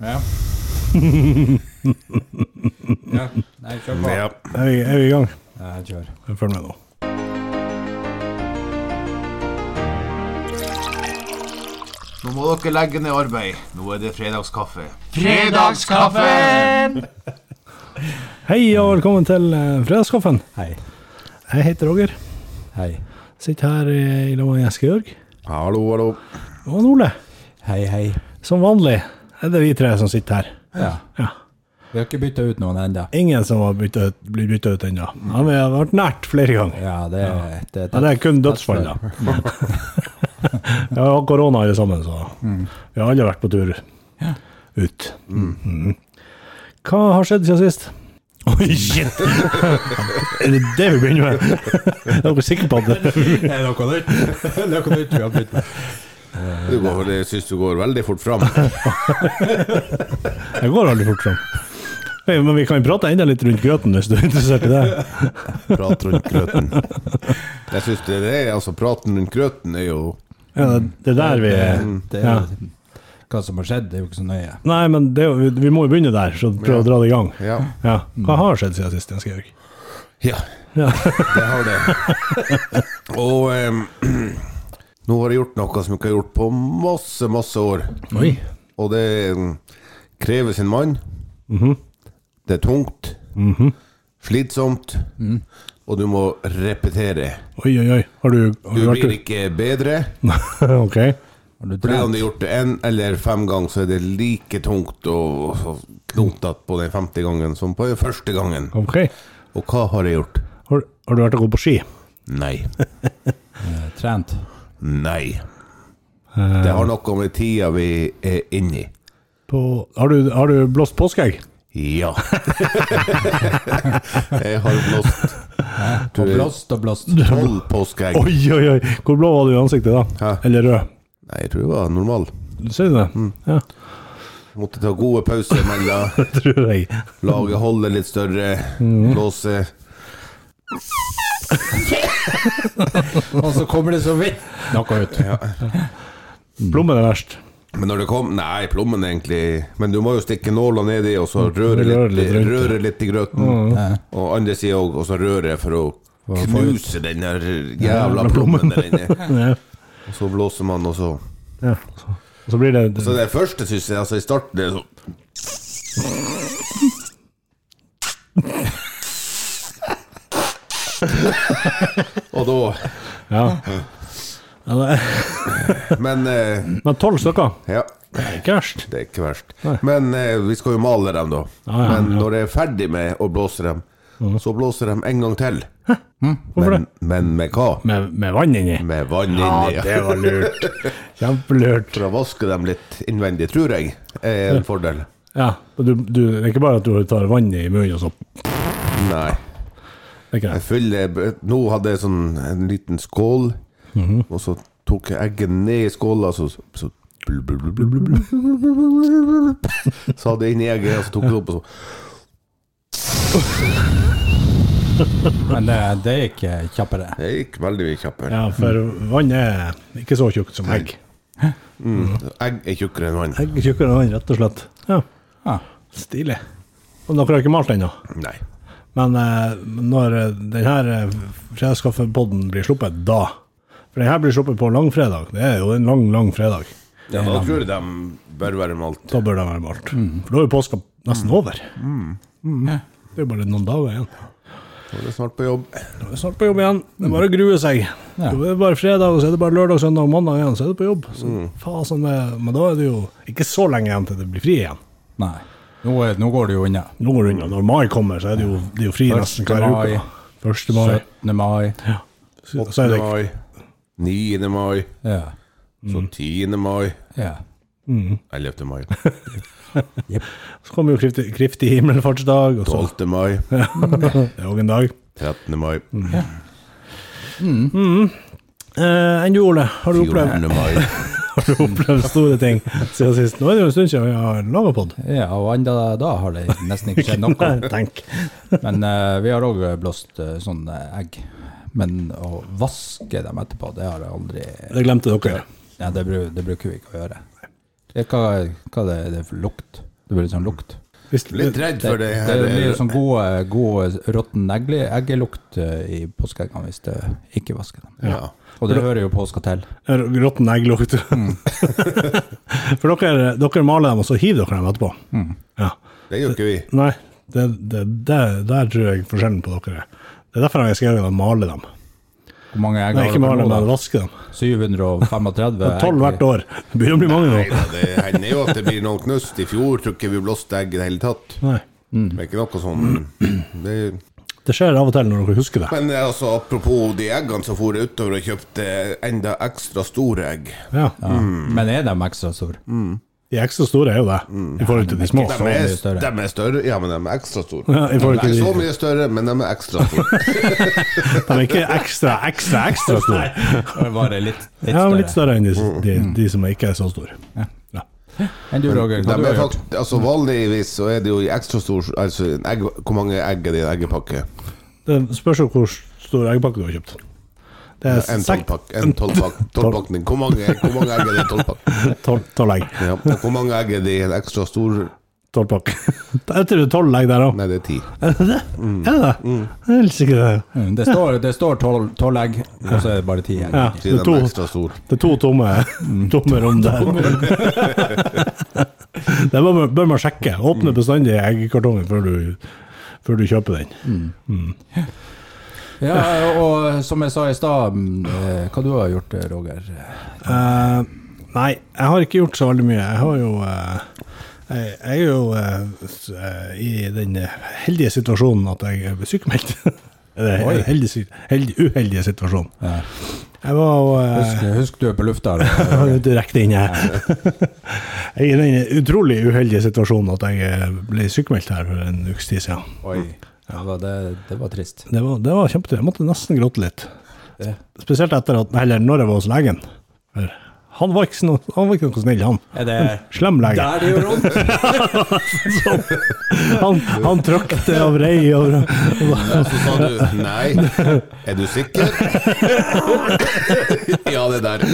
Ja. ja. Nei, kjør på. Ja. Er vi, er vi i gang? Nei, kjør. Følg med nå. Nå må dere legge ned arbeid. Nå er det fredagskaffe. Fredagskaffen! Hei og velkommen til eh, Fredagskaffen. Hei. Jeg heter Roger. Hei. Sitter her eh, i lag med Jens Georg Hallo, hallo. og Ole. Hei, hei. Som vanlig er det vi tre som sitter her. Ja. Ja. Vi har ikke bytta ut noen ennå. Ingen som har byttet ut- blitt bytta ut ennå. Ja, vi har vært nært flere ganger. Ja, det, det, Ja, det er kun dødsfall, da. Vi har hatt korona alle sammen, så Mm. vi har alle vært på tur ut. Mhm. Hva har skjedd siden sist? Oi, shit! er det det vi begynner med? Jeg er dere sikre på at det Det er noe nytt. Det er noe nytt vi har begynt med. Du går, jeg synes du går veldig fort fram. Jeg går aldri fort fram. Nei, Men vi kan jo prate enda litt rundt grøten hvis du er interessert i det. Prat rundt grøten. Jeg synes det, det er, altså Praten rundt grøten er jo Ja, det er der vi Mm, Det ja. er, hva som har skjedd, det er jo ikke så nøye. Nei, men det, er jo- vi må jo begynne der, så prøv å dra det i gang. Ja. Ja. Hva har skjedd siden sist, Jens Georg? Ja, det har det. Og em, nå har jeg gjort noe som jeg ikke har gjort på masse, masse år. Oi. Og det em, krever sin mann. Mhm. Det er tungt. Slitsomt. Mm. Og du må repetere. Oi, oi, oi. Har du, har Du du blir vært ikke bedre. Ok. Har du Fordi om trent? du har gjort det én eller fem ganger, så er det like tungt og og knotete på den femte gangen som på den første gangen. Ok. Og hva har jeg gjort? Har, har du vært og gått på ski? Nei. Eh, trent? Eh. Nei. Det har noe med tida vi er inni. På, har, du, har du blåst påskeegg? Ja. jeg har blåst Eh, Og blåst og blåst. tolv påskeegg. Oi, oi, oi! Hvor blå var du i ansiktet da? Hæ? Eller rød? Nei, jeg tror det var normal. Mm. Sier du det? Ja, Måtte ta gode pauser mellom. tror jeg. Lage holdet litt større. Mm. Blåse. Og så kommer det så vidt noe ut. Mm. Plommen er verst. Men når det kom Nei, plommen egentlig Men du må jo stikke nåla nedi og så røre Mm. Røre litt, litt rundt, ja. røre litt i grøten. Og andre sida òg, og så røre for å knuse den der jævla plommen der inne. Ja. Og så blåser man, og så ja. Så, og så blir det Så det første, syns jeg, altså i starten det er sånn Og da Ja. ja det, Men eh, men tolv stykker? ja. Det er ikke verst. Det er ikke verst. Men eh, vi skal jo male dem, da. Ja, ja, men ja. Mhm. når jeg er ferdig med å blåse dem, så blåser de en gang til. Hvorfor Men, men med hva? Med, med vann inni? Med vann inni. Ja, var lurt. Kjempelurt. For å vaske dem litt innvendig, tror jeg, er en fordel. Ja. men Du, du, det er ikke bare at du tar vann i munnen og så Det Nei. er ikke Jeg det. fyller b- Nå hadde jeg sånn en liten skål, Mhm. og så tok jeg egget ned i skåla, så, så blub, blub, blub, blub, blub, blub, blub, blub. Så hadde jeg inni egget, og så tok jeg opp, og så Men det, det gikk eh, kjappere. Det gikk veldig mye kjappere. Ja, for Mm. vann er ikke så tjukt som egg. Mm. Egg er tjukkere enn vann. Egg er tjukkere enn vann, rett og slett. Ja. Ja. Stilig. Og dere har ikke malt ennå? Ah. Nei. Men eh, når denne fredagskaffepodden blir sluppet, da For den her blir sluppet på langfredag. Det er jo en lang, lang fredag. Ja, da tror jeg de bør være malt. Da bør den være malt. For da er jo påska nesten over. Mm. Det er jo bare noen dager igjen. Da er det snart på jobb. Da er det snart på jobb igjen. Det er bare Mm. å grue seg. Da er det bare fredag, og så er det bare lørdag, søndag og mandag igjen, så er det på jobb. Så, Mm. fasen, det- men da er det jo ikke så lenge igjen til det blir fri igjen. Nei. Nå, er- nå går det jo unna. Nå går det unna. Når mai kommer, så er det jo, det er jo fri nesten hver Første mai. uke. Første mai. 17. mai. Så, så er 8. det mai, 9. mai, Ja. Mm. så 10. mai, ja. Mm. 11. mai, Så kommer jo Krifti, Krifti himmelfartsdag, og så 12. mai, Det er òg en dag. 13. mai, Mm. Eh, Enn du, Ole, har du opplevd, 14. mai. har du opplevd store ting siden sist? Nå er det jo en stund siden vi har laga pod. ja, og enda da har det nesten ikke skjedd noe. Tenk. Men eh, vi har òg blåst eh, sånne egg. Men å vaske dem etterpå, det har jeg aldri Det glemte dere. ja, det, bru- det bruker vi ikke å gjøre. Det, hva hva det, det er for lukt? Det blir litt sånn lukt. Hvis, Litt redd Det, for det, det her. eh, blir jo sånn god, god råtten egle- eggelukt eh, i påskeeggene hvis det ikke vasker dem. Ja. Og det hører jo påska til. Råtten eggelukt. Mm. For dere, dere maler dem, og så hiver dere dem etterpå. Mm. Ja. Det gjør ikke vi. Nei, det, det, det, der tror jeg forskjellen på dere er. Det er derfor jeg har skrevet å male dem. Hvor mange egg Nei, har ikke male dere dem, nå? men da? vaske dem. 735? Tolv hvert år. Det begynner å bli mange nå. Neida, det hender jo at det blir noen knust. I fjor tror ikke vi blåste egg i det hele tatt. Nei. Mm. Det er ikke noe sånn det, Det skjer av og til når dere husker det. Men eh, altså, apropos de eggene, så for jeg utover og kjøpte enda ekstra store egg. Ja. Ja. Mm. Men er de ekstra store? De ekstra store er jo det, i forhold til de små. Mm. De så er, mye større. de er større, ja, men de er ekstra store. Ja, i de forhold er til de- ikke så mye større, men de er ekstra store. De er ikke ekstra, ekstra, ekstra store. Bare litt, litt Ja, men litt større. Mm. større enn de, Mm. de, de som ikke er så store. Ja. Enn du, Roger? Hva De du er har gjort? fakt, altså, vanligvis så er det jo i ekstra stor altså, en egg, Hvor mange egg er det i en eggepakke? Det spørs jo hvor stor eggpakke du har kjøpt. Det er En sek- tolvpakk- en tolvpakk- tolvpakning. Hvor, mange- hvor mange egg er det i en tolvpakk? tolv tolv egg. Ja. og Hvor mange egg er det i en ekstra stor Tolv pakk. Jeg tror det er tolv egg der òg. Nei, det er ti. Mm. Er det det? Er det det? Jeg er helt sikker på det. Mm, Det står, det står tolv, tolv egg, og så er det bare ti egg. Ja, det Siden er de er to, ekstra store. det er to tomme, Mm. tomme rom der. Det bør man, bør man sjekke. Mm. Åpne bestandig eggkartongen før du, før du kjøper den. Mm. Mm. Ja, og som jeg sa i stad, mm, eh, hva du har gjort, Roger? Eh, nei, jeg har ikke gjort så veldig mye. Jeg har jo eh, jeg, jeg er jo eh, s- eh, i den heldige situasjonen at jeg er sykemeldt. Det er Oi. en heldig, si- heldig, uheldige situasjon. Ja. Jeg var jo eh, Husk, husk du er på lufta. da. direkte inne. Jeg er i den utrolig uheldige situasjonen at jeg eh, ble sykemeldt her for en ukes tid siden. Oi. Ja, da, det, det var trist. Det var, det var kjempe- Jeg måtte nesten gråte litt. Det. Spesielt etter at, eller når jeg var hos legen. Eh. For han var ikke, så, noe- han var ikke noe snill, han. Er det Slem lege. der det gjør vondt? Sånn Han, han trykte og vrei. Og, Og så sa du nei. Er du sikker? ja, det der.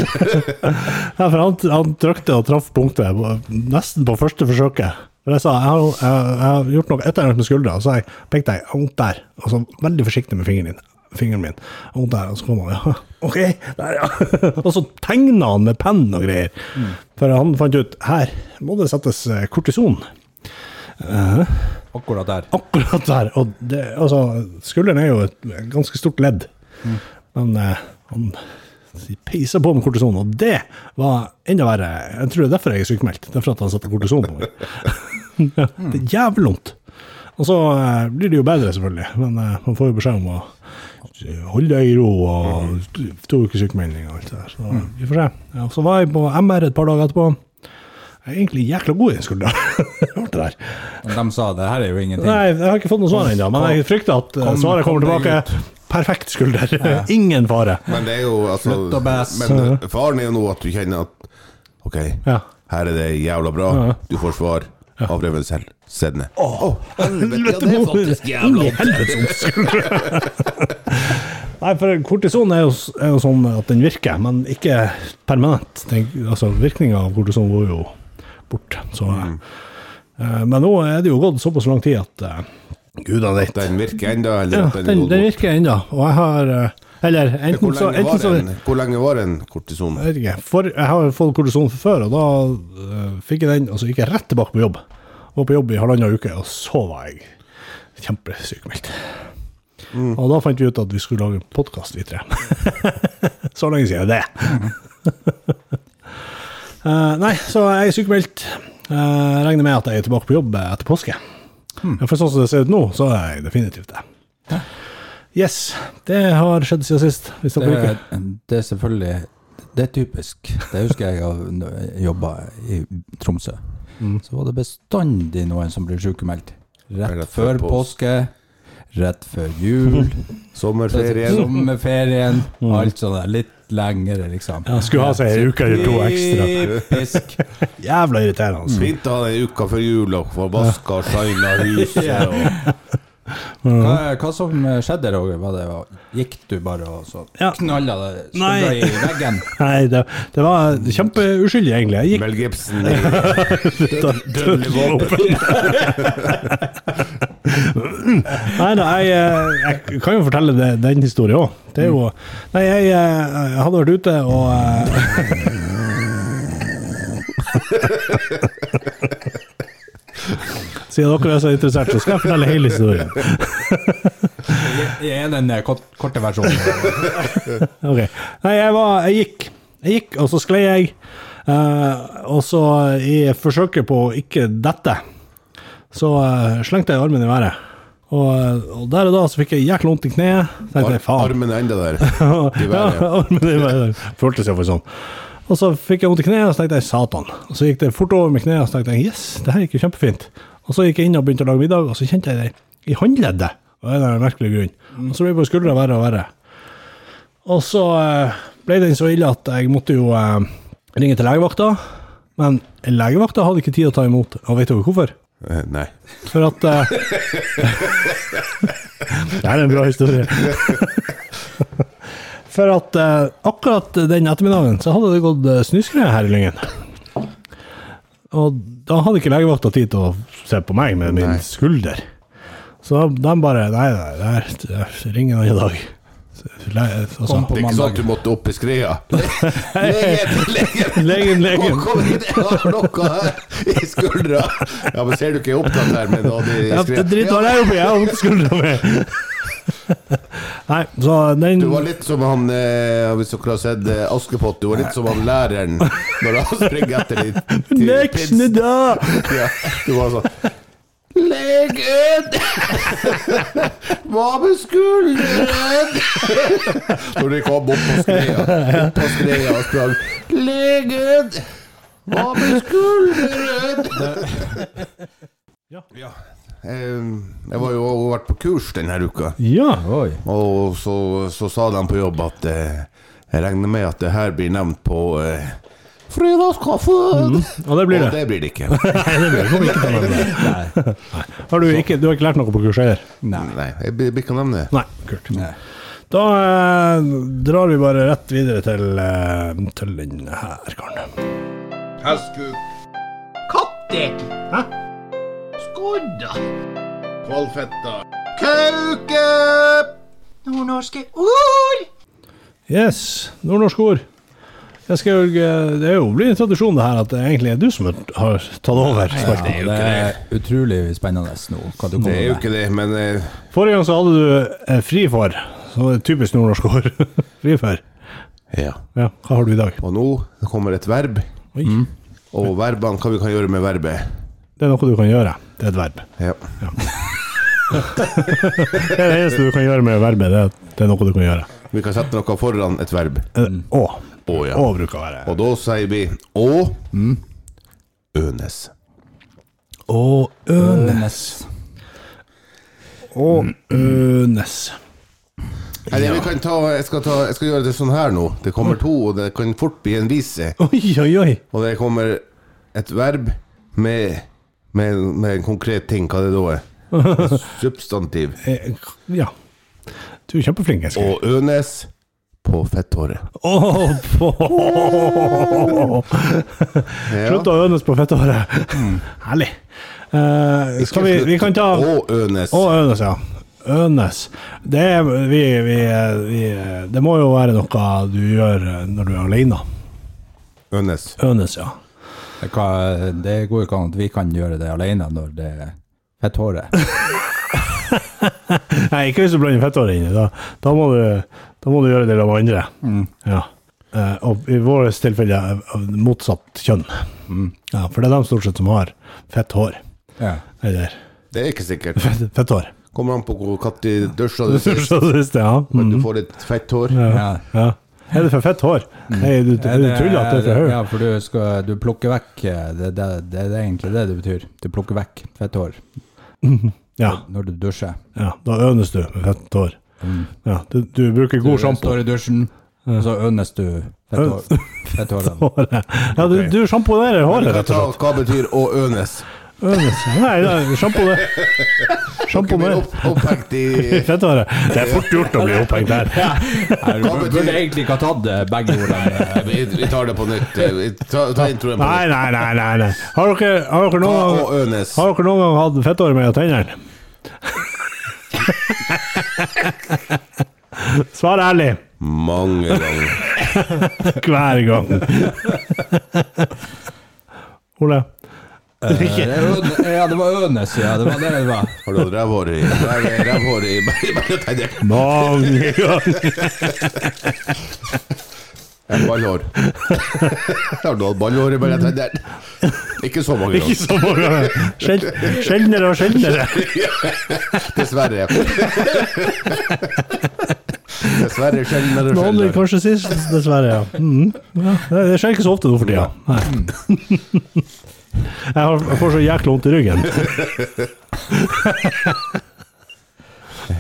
ja, for han, han trykte og traff punktet på- nesten på første forsøket. For jeg sa jeg har, jeg, jeg har gjort noe et eller annet med skuldra, og så har jeg pekte jeg vondt der. Og så veldig forsiktig med fingeren min. Fingeren min. Vondt der, og så kom han ja, OK, der, ja. Og så tegna han med penn og greier. For han fant ut her må det settes eh, kortison. Eh, Akkurat der. akkurat der. Og det, altså, skulderen er jo et ganske stort ledd. Men eh, han peisa på med kortison, og det var enda verre. Jeg tror det er derfor jeg er sykemeldt. Derfor at han satte kortison på meg. Ja, det er jævlig vondt. Og så eh, blir det jo bedre, selvfølgelig. Men eh, man får jo beskjed om å holde deg i ro og to uker sykemelding og alt det der. Så Mm. vi får se. Ja, og så var jeg på MR et par dager etterpå. Jeg er egentlig jækla god i den skuldra. Rart det der. Men De sa det her er jo ingenting. Nei, jeg har ikke fått noe svar ennå, men jeg frykter at eh, Kom- svaret kommer kom deg tilbake. Perfekt skulder. Ingen fare. Men det er jo altså Slutt å bæs. Men eh, faren er jo nå at du kjenner at OK, Ja. her er det jævla bra. Du får svar. Avreven selv. Send det. Helvete, mor. Ingen helvetes vondt skulder. Nei, for kortison er jo, s- er jo sånn at den virker, men ikke permanent. Den, altså, Virkninga av kortison går jo bort. Så, eh, Mm. eh, Men nå er det jo gått såpass lang tid at eh, Gudene vet. Den virker ennå, eller Ja, at den, den, går den bort. virker ennå, og jeg har eh, Eller Hvor enten så, lenge enten var så den, hvor lenge var den kortison? Jeg vet ikke. For, jeg har jo fått kortison fra før, og da eh, fikk jeg den, og så gikk jeg rett tilbake på jobb. Var på jobb i halvannen uke, og så var jeg kjempesykmeldt. Og da fant vi ut at vi skulle lage en podkast, vi tre. så lenge siden det. Eh, nei, så jeg er sykemeldt. Eh, regner med at jeg er tilbake på jobb eh, etter påske. Ja, For sånn som det ser ut nå, så er jeg definitivt det. Yes, det har skjedd siden sist. Hvis Det, dere ikke er- det er selvfølgelig Det er typisk. Det husker jeg av jobba i Tromsø. Mm. Så var det bestandig noen som ble sykemeldt. Rett Rett før før påske, rett før jul, Sommerferien? sommerferien, Mm. alt sånt der. Litt lengre, liksom. Ja, skulle ha seg en uke eller to ekstra. Typisk. Jævla irriterende. Fint å ha den uka før jul og få vaska og shina huset og Hva, hva som skjedde, Roger? Var det, gikk du bare og så Ja. knalla det Nei. stubba i veggen? Nei, det, det var kjempeuskyldig, egentlig. Jeg gikk Mel Gibson i dødelig våpen. nei da, jeg, eh, jeg kan jo fortelle det, den historien òg. Det er jo Nei, jeg, eh, jeg hadde vært ute og eh, Siden dere er så interessert, så skal jeg fortelle hele historien. Jeg er den eh, kort, korte versjonen. Ok. Nei, jeg var Jeg gikk. Jeg gikk, og så sklei jeg. Eh, og så, i forsøket på å ikke dette, så eh, slengte jeg armen i været. Og, eh, og der og da så fikk jeg jækla vondt i kneet. Tenkte jeg, faen. armen enda der. i ja, været. armen i været. Føltes iallfall sånn. Og så fikk jeg vondt i kneet, og så tenkte jeg satan. Og så gikk det fort over med kneet, og så tenkte jeg yes, det her gikk jo kjempefint. Og så gikk jeg inn og begynte å lage middag, og så kjente jeg det i håndleddet. Av en eller annen merkelig grunn. Og så ble det på skuldra verre og verre. Og så eh, ble den så ille at jeg måtte jo eh, ringe til legevakta. Men legevakta hadde ikke tid å ta imot, og vet dere hvorfor? Eh, Nei. For at eh, Det her er en bra historie. For at eh, akkurat den ettermiddagen så hadde det gått eh, snøskred her i Lyngen. Og da hadde ikke legevakta tid til å se på meg med min Nei. skulder. Så de bare Nei, nei, det her det her- ring en annen dag. Så, le, altså, Kom Det på er ikke sånn at mandag. du måtte opp i skreia. Legen, legen! Legen, legen. Kom, kom hit, jeg har noe her i skuldra! Ja, men ser du ikke jeg er opptatt her med noe i Ja, det skreia? driter Ja, jeg opp i, jeg har vondt i skuldra mi. Nei, så den Du var litt som han eh, Hvis dere har sett eh, Askepott, du var litt som han læreren når han springer etter de de Leksene kids. da! Ja, du var sånn Legen! Hva med skulderen? Når de kom opp på skreia, opp på skreia og sprang Legen! Hva med skulderen? Ja. Eh, Jeg var jo og vært på kurs denne uka. Ja. Oi. Og så, så sa de på jobb at eh, jeg regner med at det her blir nevnt på eh, fredagskaffen. Mm. Og det blir Og det. det blir det ikke. Nei, det blir det. Kom ikke til å nevne det. Har du, ikke, du har ikke lært noe på kurset heller? Nei. Nei, jeg blir blir ikke å nevne det. Nei. Kult. Nei. Da eh, drar vi bare rett videre til, eh, til den her karen. Hestkuk. Kattek. Hæ? Skodda. Kvalfetta. Kauke! Nordnorske ord. Yes, nordnorsk ord. Jeg skal, jo, eh, det er jo blir en tradisjon det her at det egentlig er du som har tatt over. spalten. Ja, det er utrolig spennende nå. Hva du kommer Det er jo med. ikke det, men eh, Forrige gang så hadde du eh, fri for. Så var det typisk nordnorsk ord. fri for. ja. Ja, hva har du i dag? Og nå kommer et verb. Oi. Mm. Og verbene, hva vi kan gjøre med verbet. Det er noe du kan gjøre. Det er et verb. Ja. Det er det eneste du kan gjøre med verbet. Det er, det er noe du kan gjøre. Vi kan sette noe foran et verb. Eh, Å. Å, ja. Å bruker å være. Og da sier vi å ønes. Å ønes. Ønes. Mm. Å ønes. Eller, vi kan ta, jeg, skal ta, jeg skal gjøre det sånn her nå. Det kommer to, og det kan fort bli en vise. Oi, oi, oi. Og det kommer et verb med, med, med en konkret ting, hva det da er. Substantiv. Eh, Ja. Du er kjempeflink, Eskil. Og ønes på fetthåret. Å, på- Ja. Slutt å ønes på fettehåret. Herlig. Eh, skal vi, vi kan ta Å Og ønes. ønes, ja. Ønes. Det, er, vi, vi, vi, det må jo være noe du gjør eh, når du er alene. Ønes. Ønes, ja. Det, kan, det går jo ikke an at vi kan gjøre Eh, det alene når det er fetthåret. Nei, ikke hvis du blander fettåret inn i det. Da må du, da må du gjøre det sammen med andre. Mm. Ja. Eh, og i vårt tilfelle av- av motsatt kjønn. Ja, for det er de stort sett som har fett hår. Mm. Ja. Eller Det er ikke sikkert. fett, fett hår. Kommer an på hvor når du dusjer. Du Du, ser, skjønner det, ja. men Mm. du får litt fetthår. Ja. ja. Er det for fett hår? Nei, du, du, du tuller at det er for høyt? Ja, for du, skal, du plukker vekk eh, det, det, det er egentlig det det betyr. Du plukker vekk fetthår Ja, når du dusjer. ja. Da ønes du med fett hår. Ja, du, du bruker god Du sjampo. står i dusjen, og så ønes du fetthår- fetthårene. Ja, du, du sjamponerer håret, Kan rett og ta, slett. hva betyr å ønes? Nei, nei, sjampo det. Sjampo Ikke bli det. opp, opphengt i Fett var det. Det er fort gjort å bli opphengt der. Jeg Hva betyr- burde egentlig ikke ha tatt eh, begge ordene. vi, vi tar det på nytt. Vi tar, ta introen på Nei, nytt. nei, nei. nei, nei. Har, dere, har, dere Ta noen og gang, Ønes. har dere noen gang hatt fettår mellom tennene? Svar ærlig. Mange ganger. Hver gang. Ole? Ikke. Eh, Det er Øne- Ja, det var Ønes, ja. Det var det det var. Har du hatt rævhår i ræv- Rævhår i mellomtennene? Mange ganger. Ballhår. Har du hatt ballhår i mellomtennene? Ikke så mange Ikke ganger, så mange ganger. Sjel- Sjeldnere og sjeldnere. dessverre. Dessverre sjeldnere og Noen vil sjeldnere. kanskje sist, dessverre. Ja. Mhm. Ja, det det skjer ikke så ofte nå for tida. Nei. Jeg, har, jeg får så jækla vondt i ryggen.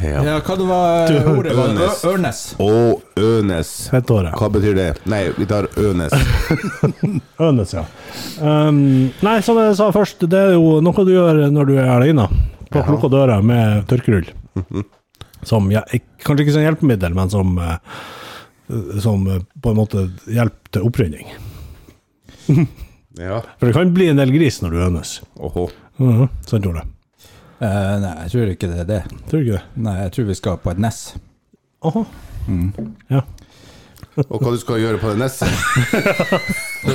Ja. Ja, hva det var eh, ordet? var? Ønes. Ø- Ørnes. Og Ønes. Fettåret. Hva betyr det? Nei, vi tar Ønes. Ønes, ja. Um, nei, som jeg sa først, det er jo noe du gjør når du er alene. På lukka døra med tørkerull. Som ja, ik- kanskje ikke som hjelpemiddel, men som eh, som eh, på en måte hjelp til opprydning. Ja. For det kan bli en del gris når du ønes. Oho. Mhm, Sant, Ole? Eh, nei, jeg tror ikke det er det. Tror du ikke det? Nei, jeg tror vi skal på et nes. Mm. Aha. Ja. Og hva du skal gjøre på det neste?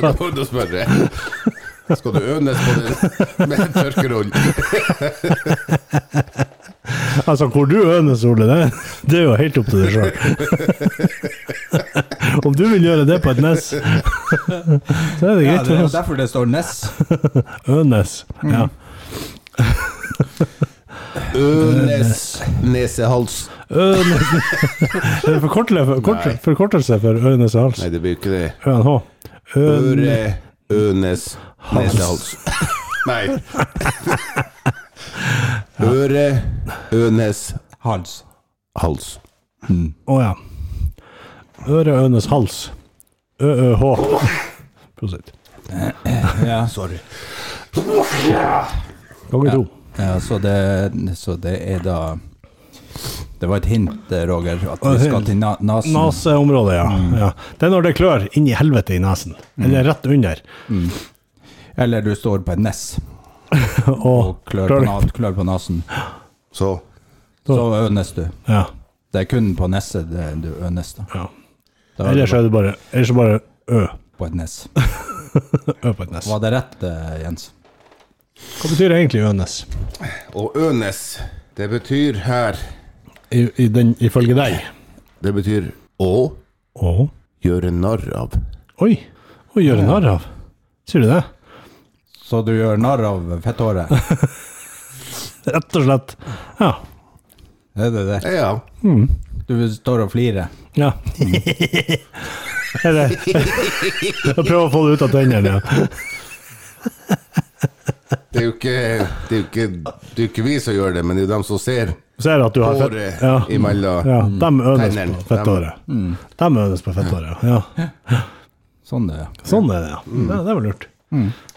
Da må du spørre. Skal du ønes på det med en tørkerull? Altså, hvor du øner, Ole, det, det er jo helt opp til deg sjøl. Om du vil gjøre det på et nes, så er det Ja, det greit er for jo oss. derfor det står nes. Mm. Ønes. Ja. Ønes nesehals. Ønes. Det er en forkortelse for, Nei. kort, forkortelse for ønes og hals. Nei, det blir jo ikke det. ØNH. Øn- Øre, ønes, nesehals. Nei. Øre, ønes, Hals. hals. Mm. Å ja. Øre, ønes, hals. ØØH. Prosit. Eh, Ja, sorry. Ganger to. Ja, så det, så det er da Det var et hint, eh, Roger, at Et vi skal hint. til na nasen. Mm. Naseområdet, ja. ja. Det er når det klør inn i helvete i nesen. Eller rett under. Mm. Eller du står på et nes Og og klør på, na klør på nasen. Så Så ønes du. Ja. Det er kun på neset det- du ønes, da. ja. Da er Ellers det er det bare, ellers er det bare Ø. på et nes. Ø på et nes. Var det rett, eh, Jens? Hva betyr det egentlig Ønes? Og ønes, det betyr her I, i den, ifølge deg? Det betyr å Å? gjøre narr av. Oi! Å gjøre narr av. Sier du det? Så du gjør narr av fetthåret? Rett og slett. Ja. Mm. Er det det? Ja. Du står og flirer? Ja. Eller Jeg prøver å få det ut av tennene. Ja. Det er jo ikke, det er jo ikke, det er jo ikke vi som gjør det, men det er jo dem som ser. Ser at du har Håret imellom Ja, dem ønes tennene. på fetthåret. Dem ønes på fetthåret, ja. Sånn det er. Sånn er det, ja. Det, det var lurt.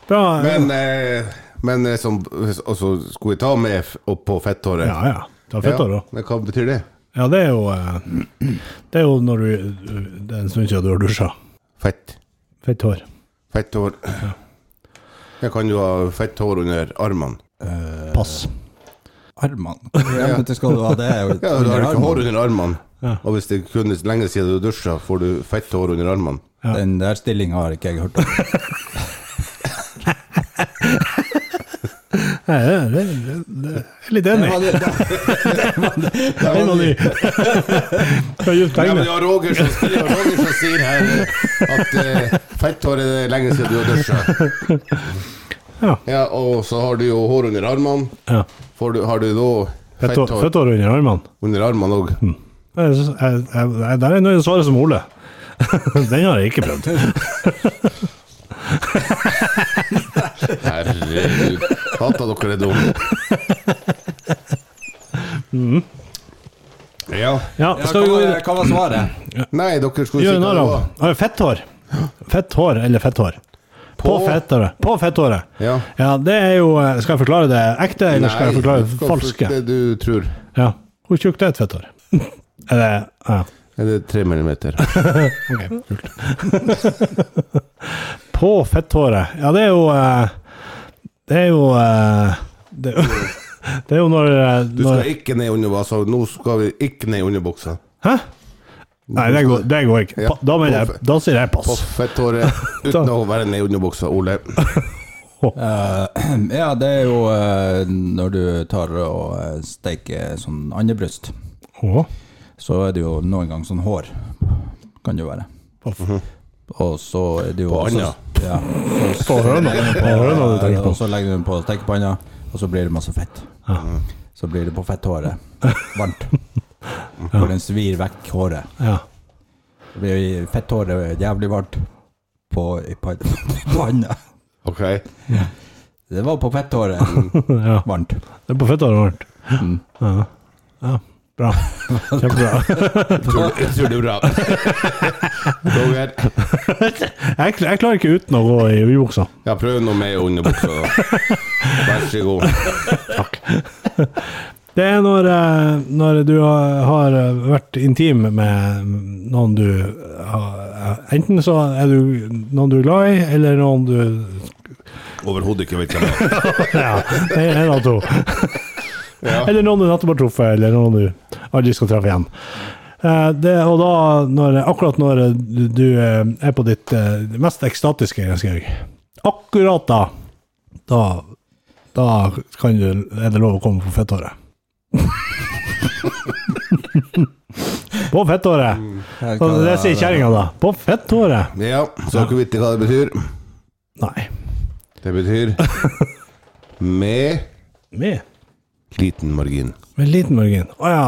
Bra. Men, eh, men eh, som, altså, skulle vi ta med f- opp på fetthåret? Ja, ja. Du har fetthår òg. Men hva betyr det? Ja, det er jo eh, Det er jo når du Det er en stund siden du har dusja. Fett. Fett hår. Fetthår. Jeg kan jo ha fett hår under armene. Pass. Armene. Ja, men det skal du ha det. er jo Ja, du har under ikke hår armene. under armene. Og hvis det kun er lenge siden du dusja, får du fett hår under armene. Den der stillinga har ikke jeg hørt om. Nei, det, det, det, det jeg er litt enig. Det er noe ny. Skal du Ja, men tegne? det var Roger som, det var Roger som sier her eh, at eh, fetthår er det lenge siden du har dusja. Ja. Ja, og så har du jo hår under armene. ja. Får du- Har du da fett Fett hår hår under armene. under armene òg? Jeg synes- jeg- jeg- jeg- Der er jeg nøye å svare som Ole. Den har jeg ikke prøvd. Herregud. Hater dere er dumme. Mm. Ja. Ja, Ja, skal vi gå videre? hva var svaret? Nei, dere skulle si Gjøre hva narr det av. var. Ah, Fett hår. Fett hår eller fett hår. På På- fettere. På fetthåret. Ja. det er jo eh, Skal jeg forklare det ekte, eller skal jeg forklare du det skal falske? først Det du tror. Ja. Hvor tjukt er et fetthår? Er det ja. Er det tre millimeter? Ok, kult. På fetthåret. Ja, det er jo eh, Det er jo eh, Det er jo, det er jo når, eh, Du når skal ikke ned under buksa. Nå skal vi ikke ned under buksa. Hæ? Nei, det går, det går ikke. Ja, Pa, da, mener jeg, på- da sier jeg pass. På fetthåret uten å være ned under buksa, Ole. Eh, ja, det er jo eh, når du tar og eh, steiker sånn andebryst, Å, så er det jo noen ganger sånn hår. Kan det jo være. på- Og så er det jo På også- anda. Ja. Og På høna. På høna du tenker så- på. Og så legger du den på stekepanna, og så blir det masse fett. Så blir det på fetthåret. Varmt. Hvor den svir vekk håret. Ja. Det blir fetthåret jævlig varmt på, på, på handa. Ok? Det var på fetthåret ja. varmt. Det er på fetthåret varmt. Mm. Ja. ja. Bra. Kjempebra. Jeg tror, jeg tror det er bra. Roger, Jeg, kl- jeg klarer ikke uten å gå i ubuksa. jeg prøver noe med under buksa. da. Vær så god. Det er når, eh, når du har har vært intim med noen du har Enten så er du noen du er glad i, eller noen du Overhodet ikke vet hvem det er. Ja, det er en av to. Ja. Eller noen du nettopp har truffet, eller noen du aldri skal treffe igjen. Eh, Det, og da, når, akkurat når du- du eh, er på ditt eh, mest ekstatiske, Skaug Akkurat da, da Da kan du, er det lov å komme på fetthåret. på fetthåret! Mm, Her Og kan det jeg- sier kjerringa, da. På fetthåret! Ja, så dere vet hva det betyr. Nei. Det betyr med Med, liten margin. med liten margin. Å ja.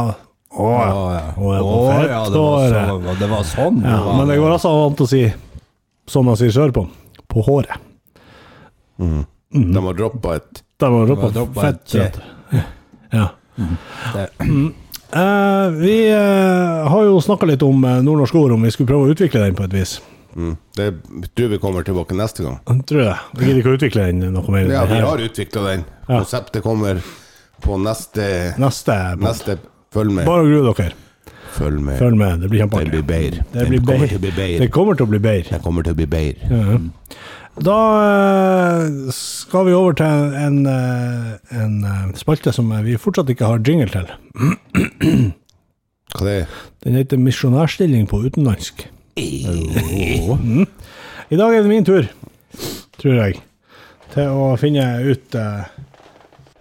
Å Å ja. ja. Å, Å, ja, ja, på det var, fetthåret. så, det var sånn. Ja, men det går altså an å si, som man sier sørpå, på håret. Mm. Mm. De har droppa et Der var det var på droppet fett. et eh, Mm. kjøtt. Ja. Det- Eh, vi eh, har jo snakka litt om eh, nordnorsk ord, om vi skulle prøve å utvikle den på et vis. mm. Det tror vi kommer tilbake neste gang. Tror jeg. Vi gidder ikke å utvikle den noe mer. Ja, vi har utvikla den. Ja. Konseptet kommer på neste Neste. punkt. Neste. Følg med. Bare grue dere. Følg med. Følg med, det blir Det kjempeartig. blir bedre. Det blir kommer bedre. til å bli bedre. Det kommer til å bli bedre. Det kommer til å bli bedre. Da eh, skal vi over til en, eh, en eh, spalte som eh, vi fortsatt ikke har jingle til. Hva det er Den heter misjonærstilling på utenlandsk. Mm. I dag er det min tur, tror jeg, til å finne ut eh,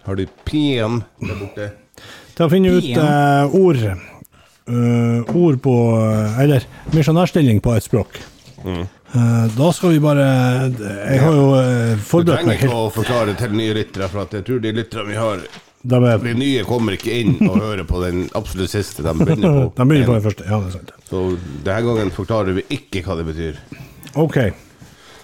Har du PM der borte? Til å finne ut eh, ord eh, Ord på eh, Eller misjonærstilling på et språk. Mm. Eh, da skal vi bare Jeg har jo eh, Du forberedt trenger meg ikke helt. å forklare til nye lyttere, for at jeg tror de lytterne vi har De, er, De nye kommer ikke inn og hører på den absolutt siste de begynner på. de begynner på den første. Ja, det er sant. Så denne gangen forklarer vi ikke hva det betyr. OK.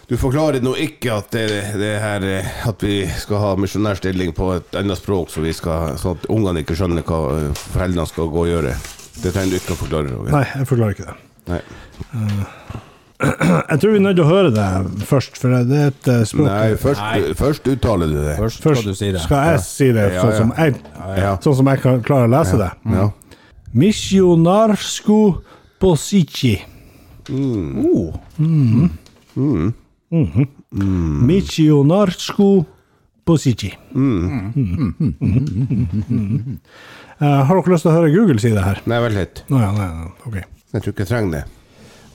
Du forklarer nå ikke at det, det her eh, At vi skal ha misjonærstilling på et annet språk, så, vi skal, sånn at ungene ikke skjønner hva eh, foreldrene skal gå og gjøre. Det trenger du ikke å forklare. Roger. Nei, jeg forklarer ikke det. Eh, Nei. Jeg tror vi er nødt til å høre det først, for det er et eh, språk Nei, først, først uttaler du det. Først Først skal du si det. skal jeg si det, Ja, sånn ja. som jeg, ja. sånn som jeg kan klare å lese det. Ja. Misjonarsku posici. Mm. Mm-hmm. Oh, Mm. Misjonarsku posici. Mm. Eh, Har dere lyst til å høre Google si det her? Nei, vent litt. Nei, nei, nei. ok. Jeg tror ikke jeg trenger det.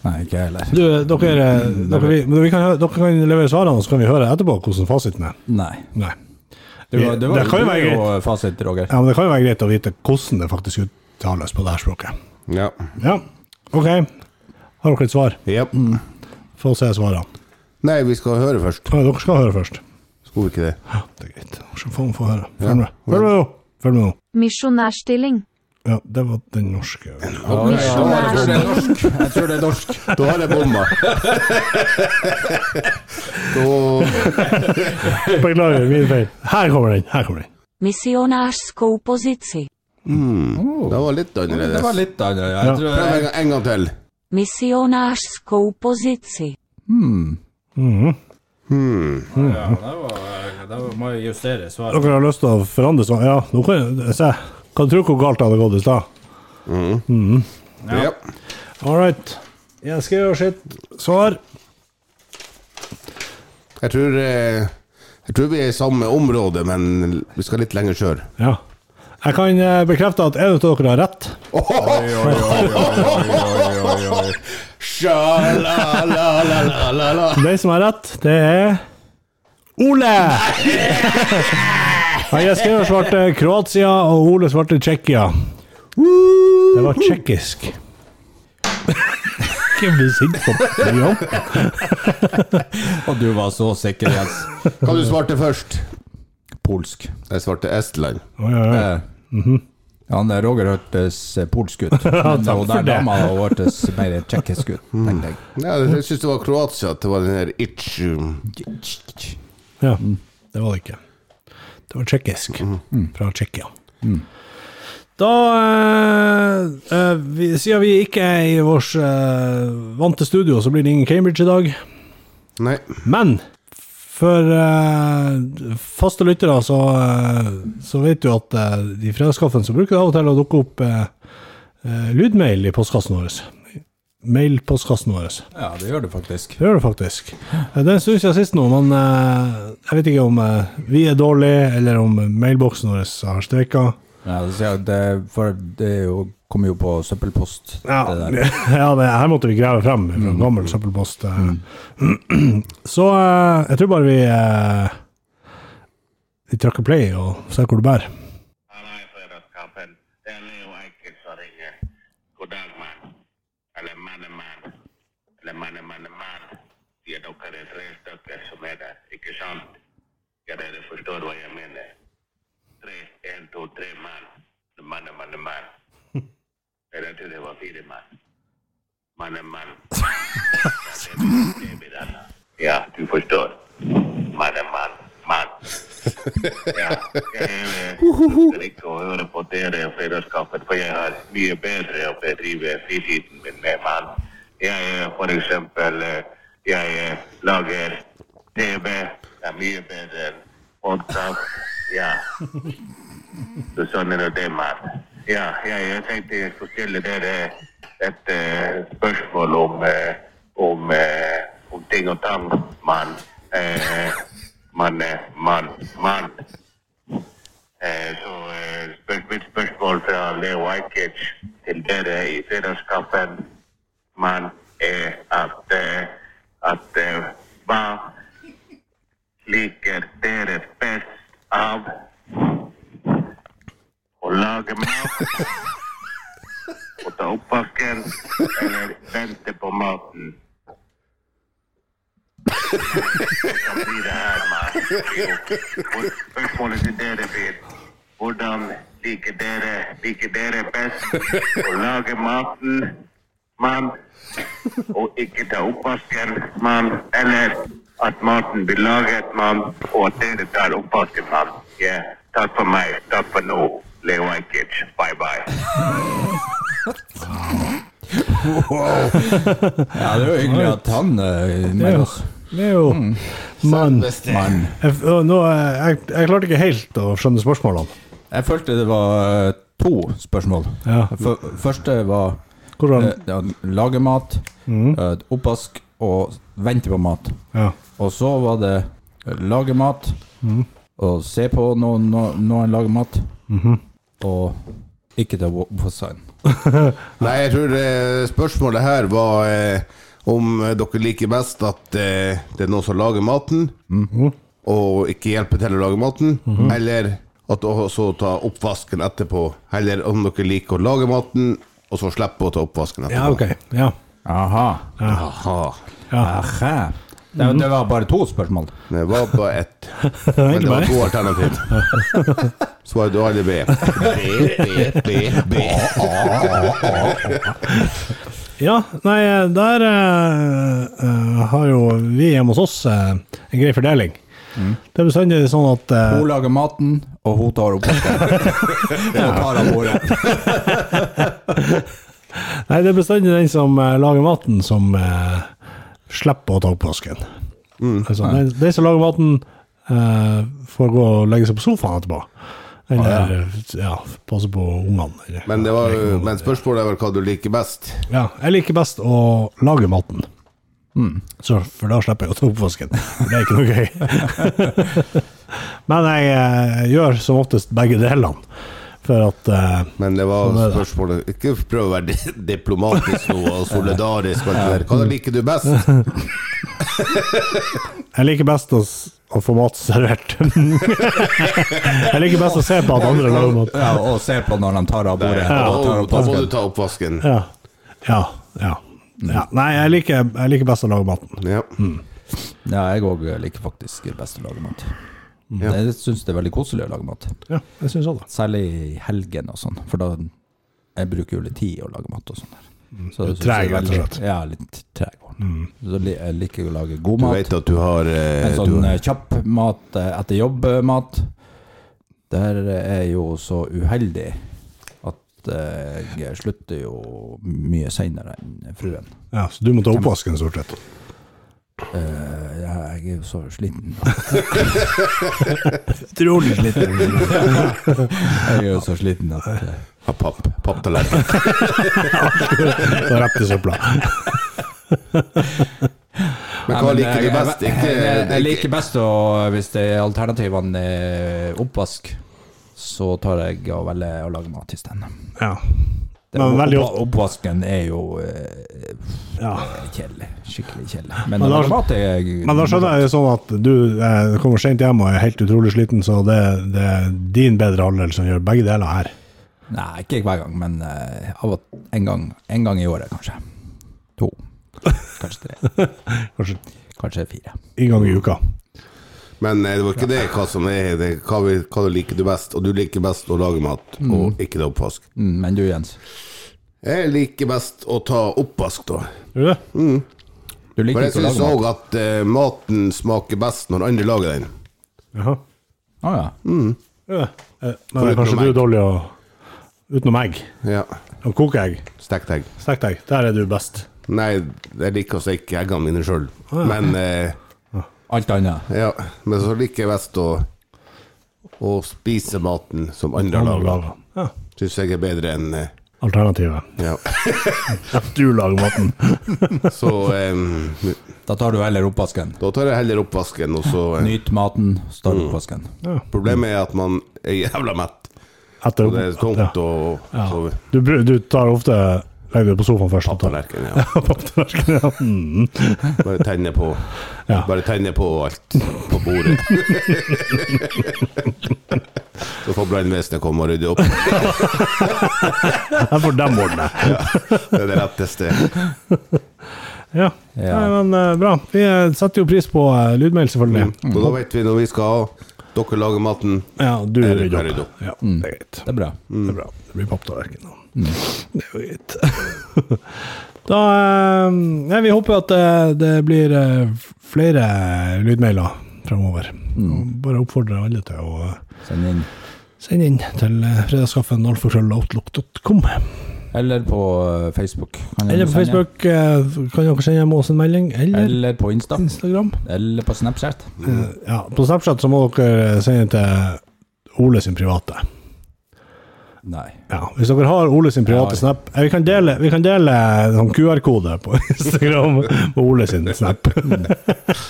nei, ikke jeg heller. Du, dere, eh, Mm, dere, vi, men vi kan, hø- dere kan levere svarene, og så kan vi høre etterpå hvordan fasiten er. Nei. Nei. Du, Vi- du, det kan jo du være er jo fasit, Roger. Ja, men det kan jo være greit å vite hvordan det faktisk uttales på det her språket. Ja. Ja, ok. Har dere et svar? Mm. ja. Få se svarene. Nei, vi skal høre først. Ja, dere skal høre først. Skal vi ikke det? Ja, det er greit. Så får vi få høre. Følg med. Følg med nå! Følg med nå. Misjonærstilling. Ja, det var den norske. det Misjonærstilling. Jeg tror det er norsk. Da har jeg bomma. da Beklager, min feil. Her kommer den. Her kommer den. Misjonarsko opozycji. Mm. Det var litt Mm. Det var annerledes. litt annerledes. Jeg Ja. tror Prøv en jeg, gang- en gang til. Hmm. Misjonarsko opozycji. Mhm. Ja, det var, det var, må jeg justere svaret. Hmm. Dere har lyst til å forandre sånn? Ja, nå kan jeg se. Kan du tro hvor galt det hadde gått i stad? Hmm. Ja. All right. Jeg Mm. skal gjøre sitt svar. Jeg tror eh, Jeg tror vi er i samme område, men vi skal litt lenger sør. Ja. Jeg kan eh, bekrefte at en av dere har rett. Sja-la-la-la-la-la. Den som har rett, det er Ole! Ja, jeg skrev og svarte Kroatia, og Ole svarte Tsjekkia. Det var tsjekkisk. Hvem blir sint på det? Ja. Og du var så sikker, Jens. Hva du svarte først? Polsk. Jeg svarte Estland. Oi, oi, oi. Eh, Han der Roger hørtes eh, polsk ut, men Mhm. takk hun for der det. dama hun hørtes mer tsjekkisk ut, tenkte jeg. Ja, jeg syns det var Kroatia. at Det var den der itch Ja, Mm. det var det ikke. Det var tsjekkisk. Fra Tsjekkia. Da eh, eh, vi, Siden vi ikke er i vårt eh, vante studio, så blir det ingen Cambridge i dag. Nei. Men for eh, faste lyttere så, eh, så vet du at eh, i fredagskaffen så bruker det av og til å dukke opp eh, eh, lydmail i postkassen vår. Mailpostkassen vår. Ja, det gjør du faktisk. Det gjør det faktisk. Eh, Det er en stund siden sist nå, men eh, jeg vet ikke om eh, vi er dårlige, eller om mailboksen vår har streka. Ja, det, sier jeg, det, for det er jo, kommer jo på søppelpost. Ja, Det der. Mm. ja det, her måtte vi grave frem fra en gammel søppelpost. eh. Så eh, jeg tror bare vi eh, Vi trykker play og ser hvor det bærer. Han er i fredagskaffen. Den er jo enkel som ringer. God dag, mann. Eller mannemann. Eller mannemannemann. De er dere tre stykker som er der, ikke sant? Ja, dere forstår hva jeg mener. Tre, en, to, tre mann. Mannemannemann. Eller til det var fire mann. Mannemann. Ja, du forstår. Mannemann. Mann. Ja, jeg slutter ikke å høre på dere og fredagskaffen, for jeg har mye bedre å bedrive fritiden min med mann. Jeg eh, for eksempel, eh, jeg eh, lager TV, det er mye bedre enn podcast, ja. Så sånn er nå det, mann. Ja, jeg, jeg tenkte jeg skulle stille dere et eh, spørsmål om, eh, om, eh, om ting og tang, mann. Eh, mann, eh, mann, mann. Eh, så eh, spør, mitt spørsmål fra Leo Ajkic til dere i fredagskaffen, mann, er at, eh, at eh, hva liker dere best av å lage mat og ta oppvasken eller vente på maten. Det kan bli det her, mann. Spørsmålet til dere blir hvordan liker dere, liker dere best å lage maten, mann, og ikke ta oppvasken, mann, eller at maten blir laget, mann, og at dere tar oppvasken, mann. Ja, Takk for meg. Takk for nå. Leo Ajkic. Bye-bye. Ja, det er jo hyggelig at han eh, Det er med jo, oss. Mm. det er jo Mann. Mann. Jeg, og nå, eh, jeg, jeg klarte ikke helt å skjønne spørsmålene. Jeg følte det var eh, to spørsmål. Ja. F- Første var Hvordan Mm. eh, ja, lage mat, eh, oppvask og vente på mat. Ja. Mm. Og så var det eh, lage mat, og se på noen når han lager mat, Mm-hmm. og ikke ta oppvasken. Nei, jeg tror eh, spørsmålet her var eh, om eh, dere liker best at eh, det er noen som lager maten, Mm. Mm. og ikke hjelper til å lage maten, eller at dere også tar oppvasken etterpå, eller om dere liker å lage maten, og så slipper å ta oppvasken etterpå. ja, OK. Ja. Aha. Aha. Aha. Mm-hmm. Det, det var bare to spørsmål. Det var bare ett. Men det var bare to alternativ. Svaret du aldri B. B, B, B, B. ja nei, der eh, eh, har jo vi hjemme hos oss eh, en grei fordeling. Det er bestandig sånn at eh, Hun lager maten, og hun tar oppvasken. Hun tar av bordet. Nei, det er bestandig den som eh, lager maten, som eh, slipper å ta oppvasken. Altså, den, den som lager maten, eh, får gå og legge seg på sofaen etterpå. Eller ja, passe på ungene. eller- Men, det var, Legge ungene. men spørsmålet er vel hva du liker best. Ja, jeg liker best å lage maten. Så, for da slipper jeg å ta oppvasken. Det er ikke noe gøy. Men jeg eh, gjør som oftest begge delene. For at eh, Men det var Sånn er det. spørsmålet Ikke prøv å være di- diplomatisk nå og solidarisk. og alt det der. Hva liker du best? jeg liker best å, s- å få mat servert. jeg liker best å se på at andre lager mat. Ja, og se på når de tar av bordet. og tar Da opp da må du tasken. ta oppvasken. Ja. Ja. ja. ja. Nei, jeg liker, jeg liker best å lage maten. Ja. Mm. Ja, jeg òg liker faktisk best å lage mat. Ja. Jeg syns det er veldig koselig å lage mat. Ja, jeg syns òg det. Særlig i helgen og sånn, for da jeg bruker jo litt tid å lage mat og sånn. der. Så jeg synes Mm. Treg, det er rett og veldig- slett. Mm. Ja, litt treg. Så li- jeg liker å lage god Du mat. vet at du har eh, En du, sånn eh, kjapp mat eh, etter jobb-mat. Der eh, er jeg jo så uheldig at eh, jeg slutter jo mye seinere enn fruen. Ja, så du må ta oppvasken, stort sett. Eh, Jeg er jo så sliten. Utrolig sliten. Jeg er jo så sliten at eh, har papp. Papptallerken. Da repte søpla. Men Nei, hva men eh, liker du jeg- best? Jeg, Ikke, jeg, jeg ikke- liker best å, hvis det er alternativene er oppvask, så tar jeg og velger å lage mat isteden. Ja. Men veldig Opp- ofte Oppvasken er jo eh, ja. kjedelig. Skikkelig kjedelig. Men, Men å da- lage mat er Men da skjønner jeg jo sånn at du eh, kommer sent hjem og er helt utrolig sliten, så det, det er din bedre halvdel som gjør begge deler her. Nei, ikke hver gang, men eh, av og en gang, en gang i året, kanskje. To. Kanskje tre. Kanskje Kanskje fire. en gang i uka. Men eh, det var ikke det hva som er det, er hva, vi, hva du liker du best. Og du liker best å lage mat, og ikke ta oppvask. Mm, men du, Jens. Jeg liker best å ta oppvask, da. Gjør du det? Mm. Du For liker jeg ikke å syns lage mat. òg at eh, maten smaker best når andre lager den. Jaha. Å ja. Gjør det? Eh, Men det er Foruten Mm. kanskje egg. du er dårlig å Utenom egg. Ja. Å koke egg. Stekt egg. Stekt egg. Der er du best. Nei, jeg liker å steke eggene mine sjøl. Men eh, Alt annet. ja, men så liker jeg best å å spise maten som andre Andre lager. lager. Ja. Syns jeg er bedre enn eh, Alternativet. Ja. At du lager maten. Så eh, Da tar du heller oppvasken. da tar jeg heller oppvasken, og så eh, Mm. Nyt maten, start oppvasken. Problemet er at man er jævla mett. Etter, Og det er tomt og Ja. så Du, bru- du tar ofte Legger det på sofaen først. tallerken. Ja. Papptallerken. Ja. Mm. Bare tenne på Ja. Bare tenne på alt på bordet. så får brannvesenet komme og rydde opp. Jeg får dem ordne. Det er det letteste. Ja. Ja. Nei, men eh, bra. Vi eh, setter jo pris på eh, lydmail, selvfølgelig. Mm. Mm. Og da vet vi når vi skal ha Dere lager maten. Ja, du Jeg rydder rydder opp. opp. Ja, det er Mm. greit. Det er bra. Det er bra. Det blir papptallerken nå. Mm. Det er jo greit. da eh, Nei, vi håper at eh, det blir eh, flere lydmailer framover. Og Bare oppfordrer alle til å eh, Mm. Send inn. sende inn til eh, fredagskaffen alfakrølloutlook.com. Eller på eh, Facebook. Kan dere Eller på sende. Facebook eh, kan dere sende med oss en melding, eller Eller på Insta. Instagram. Eller på Snapchat. Ja, på Snapchat så må dere eh, sende til Ole sin private. Nei. Ja, Hvis dere har Ole sin private Ja. snap eh, Vi kan dele, vi kan dele sånn QR-kode på Instagram på Ole sin snap. Mm.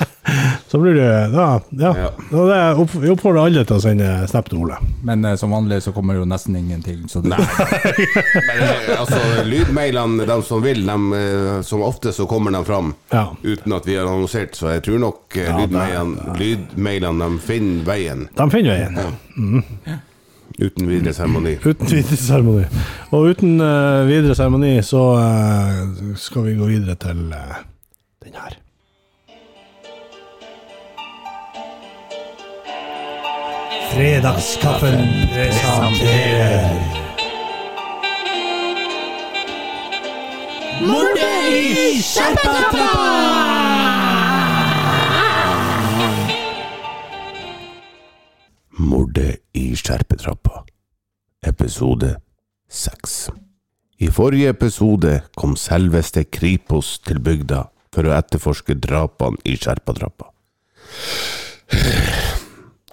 så blir det Ja. ja. Ja. Og det er opp, vi oppfordrer alle til å sende snap til Ole. Men eh, som vanlig så kommer jo nesten ingenting, så det Men eh, altså, lydmailene, de som vil, de, eh, som ofte så kommer de fram. Ja. Uten at vi har annonsert, så jeg tror nok eh, lydmailene, lydmailene de finner veien. De finner veien. Uten videre seremoni. Uten videre seremoni. Og uten eh, videre seremoni så eh, skal vi gå videre til eh, den her. Fredagskaffen presenterer Mordet i skjerpetrappa Episode 6 I forrige episode kom selveste Kripos til bygda for å etterforske drapene i skjerpetrappa.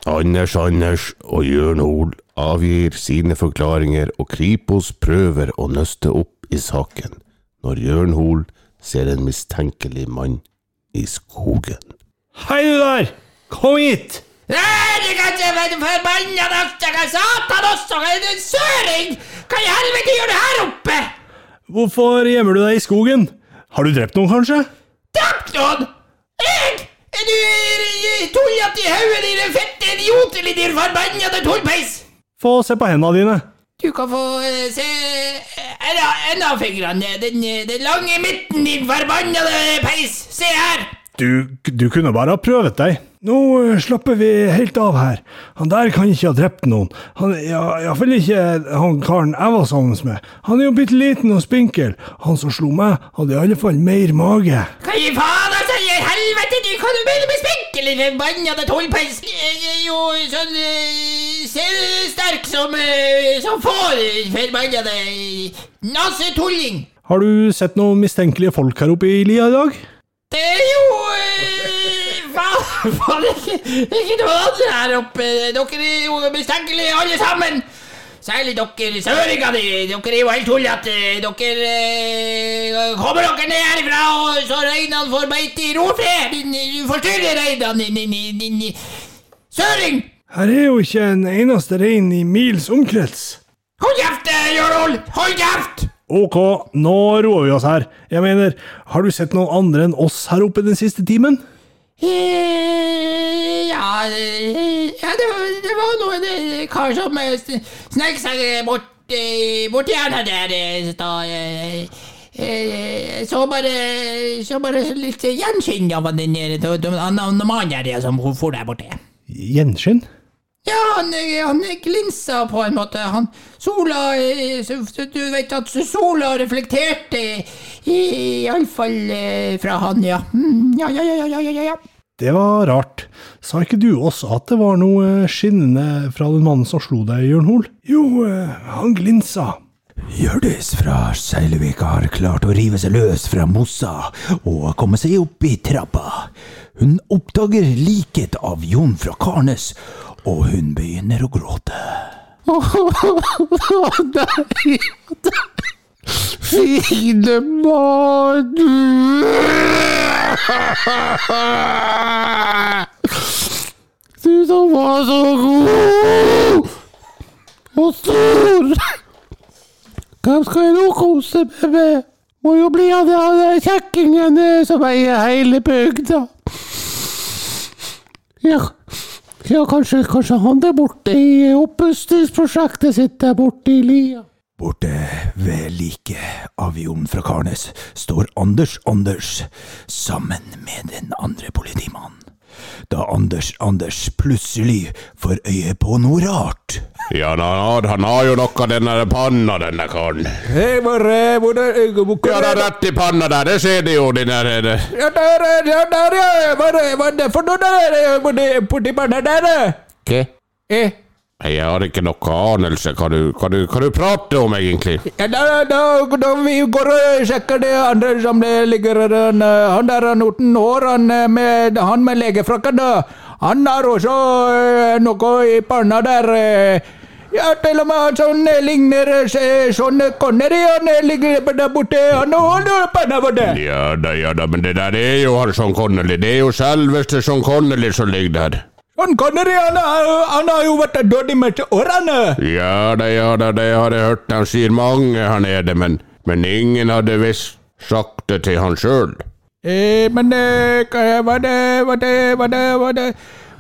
Anders Anders og Jørn Hoel avgir sine forklaringer, og Kripos prøver å nøste opp i saken når Jørn Hoel ser en mistenkelig mann i skogen. Hei, du der! Kom hit! Hvorfor gjemmer du deg i skogen? Har du drept noen, kanskje? Få se på hendene dine. Du kan få eh, se eh, enda fingrene. Den, eh, den lange midten, din forbannede peis. Se her. Du, du kunne bare ha prøvet deg. Nå eh, slapper vi helt av her. Han der kan ikke ha drept noen. Han, ja, Iallfall ikke han karen jeg var sammen med. Han er jo bitte liten og spinkel. Han som slo meg, hadde i alle fall mer mage. Hva i faen altså i helvete? Du kan jo begynne med spinkel, din forbannede tolvpeis. Jeg er jo sånn eh, selvsterk som, eh, som får eh, forbannede nasetulling. Har du sett noen mistenkelige folk her oppe i lia i dag? Det er jo eh, faen, faen ikke, ikke noe andre her oppe. Dere er jo mistenkelige alle sammen. Særlig dere søringer. Dere er jo helt tullete. Dere eh, kommer dere ned herfra, og så reinene får beite i rofred. Din- Du forstyrrer reinene, din, din, din, din søring. Her er jo ikke en eneste rein i mils omkrets. Hold kjeft, eh, Jørol! Hold kjeft! Ok, nå roer vi oss her. Jeg mener, har du sett noen andre enn oss her oppe den siste timen? Eh, Ja, eh, ja det, var- det var noen eh, kar som eh, sn- snek seg eh, bort, eh, bort i hjernen der eh, da, eh, eh, så bare, så bare litt eh, gjenskinn av han den der de- de- han- han mannen der ja, som for der borte. Gjenskinn? Ja, han, eh, han glinsa på en måte. Han, sola eh, så- så Du vet at sola reflekterte iallfall eh, fra han, ja. Mm, Ja, ja, ja, ja, ja, ja. ja. Det var rart. Sa ikke du også at det var noe eh, skinnende fra den mannen som slo deg, Jørn Hoel? Jo, eh, han glinsa. Hjørdis fra Seilvik har klart å rive seg løs fra mossa og komme seg opp i trappa. Hun oppdager liket av Jon fra Karnes, og hun begynner å gråte. Fine mann! Du som var så god og stor. Hvem skal jeg nå kose meg med? Må jo bli av den der kjekkingen som eier hele bygda. Ja, ja kanskje, kanskje han der borte i oppustingsprosjektet sitt der borte i lia. Borte ved liket av Jon fra Karnes står Anders Anders sammen med den andre politimannen. Da Anders Anders plutselig får øye på noe rart. Ja, han har, han har jo noe av den der panna, denne karen. Hei, hvor er, hvor er, hvor Ja, det er rett i panna der, det ser de jo, de der eh, nede. Ja, der, er- ja, der, ja. Hva er hva er det for noe der? er? Hvor er Politimannen er der, er? Hva? Eh, Nei, Jeg har ikke noe anelse hva du, hva du, hva du prater om, egentlig. Ja, da, da, da vi går og sjekker det andre som det ligger den, eh, Han der han uten hår, han eh, med, han med legefrakken, da. Han har også eh, noe i panna der. eh. Ja, til og med han som eh, ligner eh, sånn eh, Connery, han eh, ligger der borte. Han holder panna borte. Ja da, ja da, men det der er jo han Sean Connolly. Det er jo selveste Sean Connolly som ligger der. Han Connery, han, har- han har jo vært død de meste årene. Ja da, ja da, det har jeg hørt han sier mange her nede, men, men ingen hadde visst sagt det til han sjøl. Eh, men eh, hva hva det, hva det, hva det, hva det,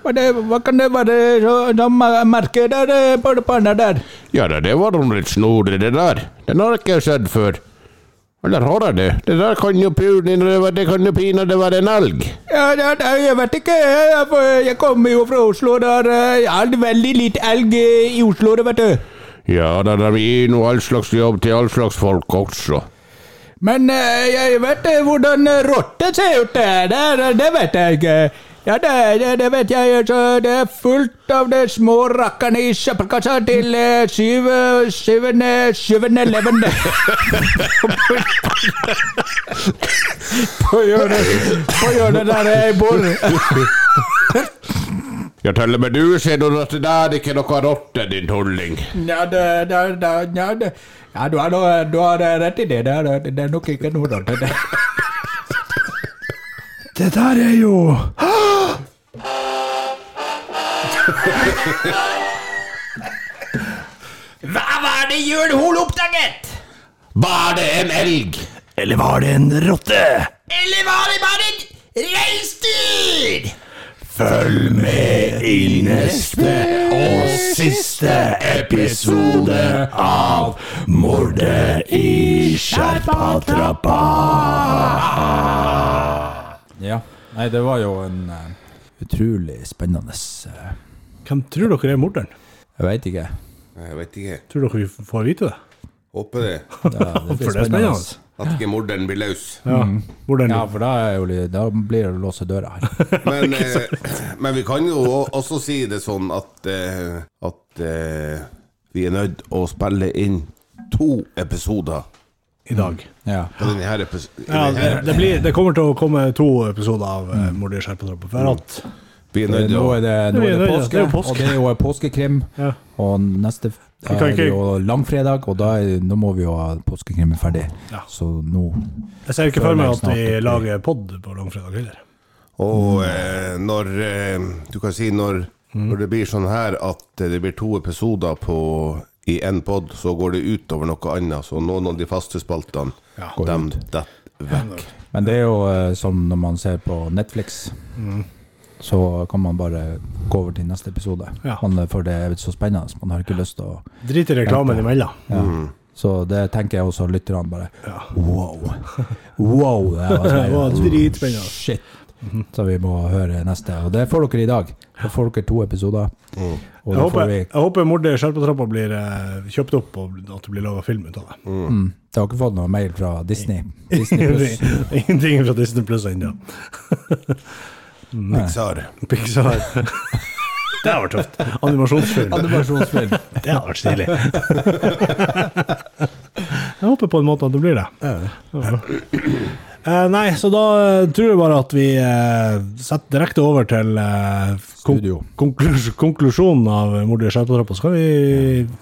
hva det, hva kan det være så- som eh, merker der eh, på det panna der? Ja da, det var noe litt snodig, det der. Den har jeg ikke sett før. Eller har jeg det? Det der kan jo pinadø det kan jo pinadø være en elg. Ja, ja, ja, jeg vet ikke, jeg, jeg- for jeg kommer jo fra Oslo, der eh, jeg har veldig lite elg eh, i Oslo, det vet du. Ja da, de gir nå all slags jobb til all slags folk også. Men eh, jeg vet eh, hvordan eh, rotte ser ut, eh, det, det, det vet jeg ikke. Ja, det, det, det vet jeg, eh, så det er fullt av de små rakkerne i søppelkassa til eh, syv, syvende, syvende levende. På hjørnet, på hjørnet der jeg bor. Ja, til og med du ser nå at det der ikke er noe rotte, din tulling. Ja, det, det, det, ja, det. ja du, har, noe- du har eh, rett i det. Det er, det er nok ikke noe rart. Det. Det der er jo Ah! Hva var det Jørn Hoel oppdaget? Var det en elg? Eller var det en rotte? Eller var det bare et reinsdyr? Følg med i neste og siste episode av Mordet i Skjerpatrappa. Ja. Nei, det var jo en eh, Utrolig spennende. eh, Hvem tror dere er morderen? Jeg veit ikke. Jeg vet ikke. Tror dere vi får vite det? Håper det. For det er spennende. At ikke morderen blir løs. Ja. Mm. Hvordan Mhm. Ja, for da, er jo, litt- da blir det å låse døra her. Men, eh, men vi kan jo o- også si det sånn at, eh, at eh, vi er nødt å spille inn to episoder i dag? Ja. på denne her epis- i Ja, denne det, her. det, blir, det kommer til å komme to episoder av eh, Mordet i Skjerpatrappa. For at Mm. Vi er nødt til Nå å er det, nå Det er er det, jo- påske, det er jo påske. og det er jo påskekrim. Ja. Og neste f- kan er det ikke- jo langfredag, og da, er- nå må vi jo ha påskekrimmen ferdig. Ja. Så nå Jeg ser ikke Før for meg det at snart vi blir- lager pod på langfredag heller. Og eh, når eh, Du kan si når, når det blir sånn her at eh, det blir to episoder på, i én pod, så går det utover noe annet. Så noen av de faste spaltene, Ja. dem detter vekk. Men det er jo eh, som når man ser på Netflix. Mm. Så kan man bare gå over til neste episode. Ja. Man, for det er så spennende. Man har ikke lyst til å Drit i reklamen imellom. ja. Mm. Så det tenker jeg også lytterne bare Ja. Wow! Wow! Det var, Det var dritspennende. Shit! Mhm. Så vi må høre neste. Og det får dere i dag. Da får dere to episoder. Mm. Og Jeg da får håper, vi jeg håper Mordet i Skjerpatrappa blir eh, kjøpt opp, og at det blir laga film ut av det. Mm. Mm. Det har ikke fått noe mail fra Disney. Disney Plus. Ingenting fra Disney Pluss ennå. Pixar. Pixar. Det hadde vært tøft. Animasjonsfilm. Animasjonsfilm. Det hadde vært stilig. Jeg håper på en måte at det blir det. Eh, nei, så da eh, tror jeg bare at vi eh, setter direkte over til eh, kon Studio. konklus konklusjonen av Mordet i skjerpetrappa. Så kan vi,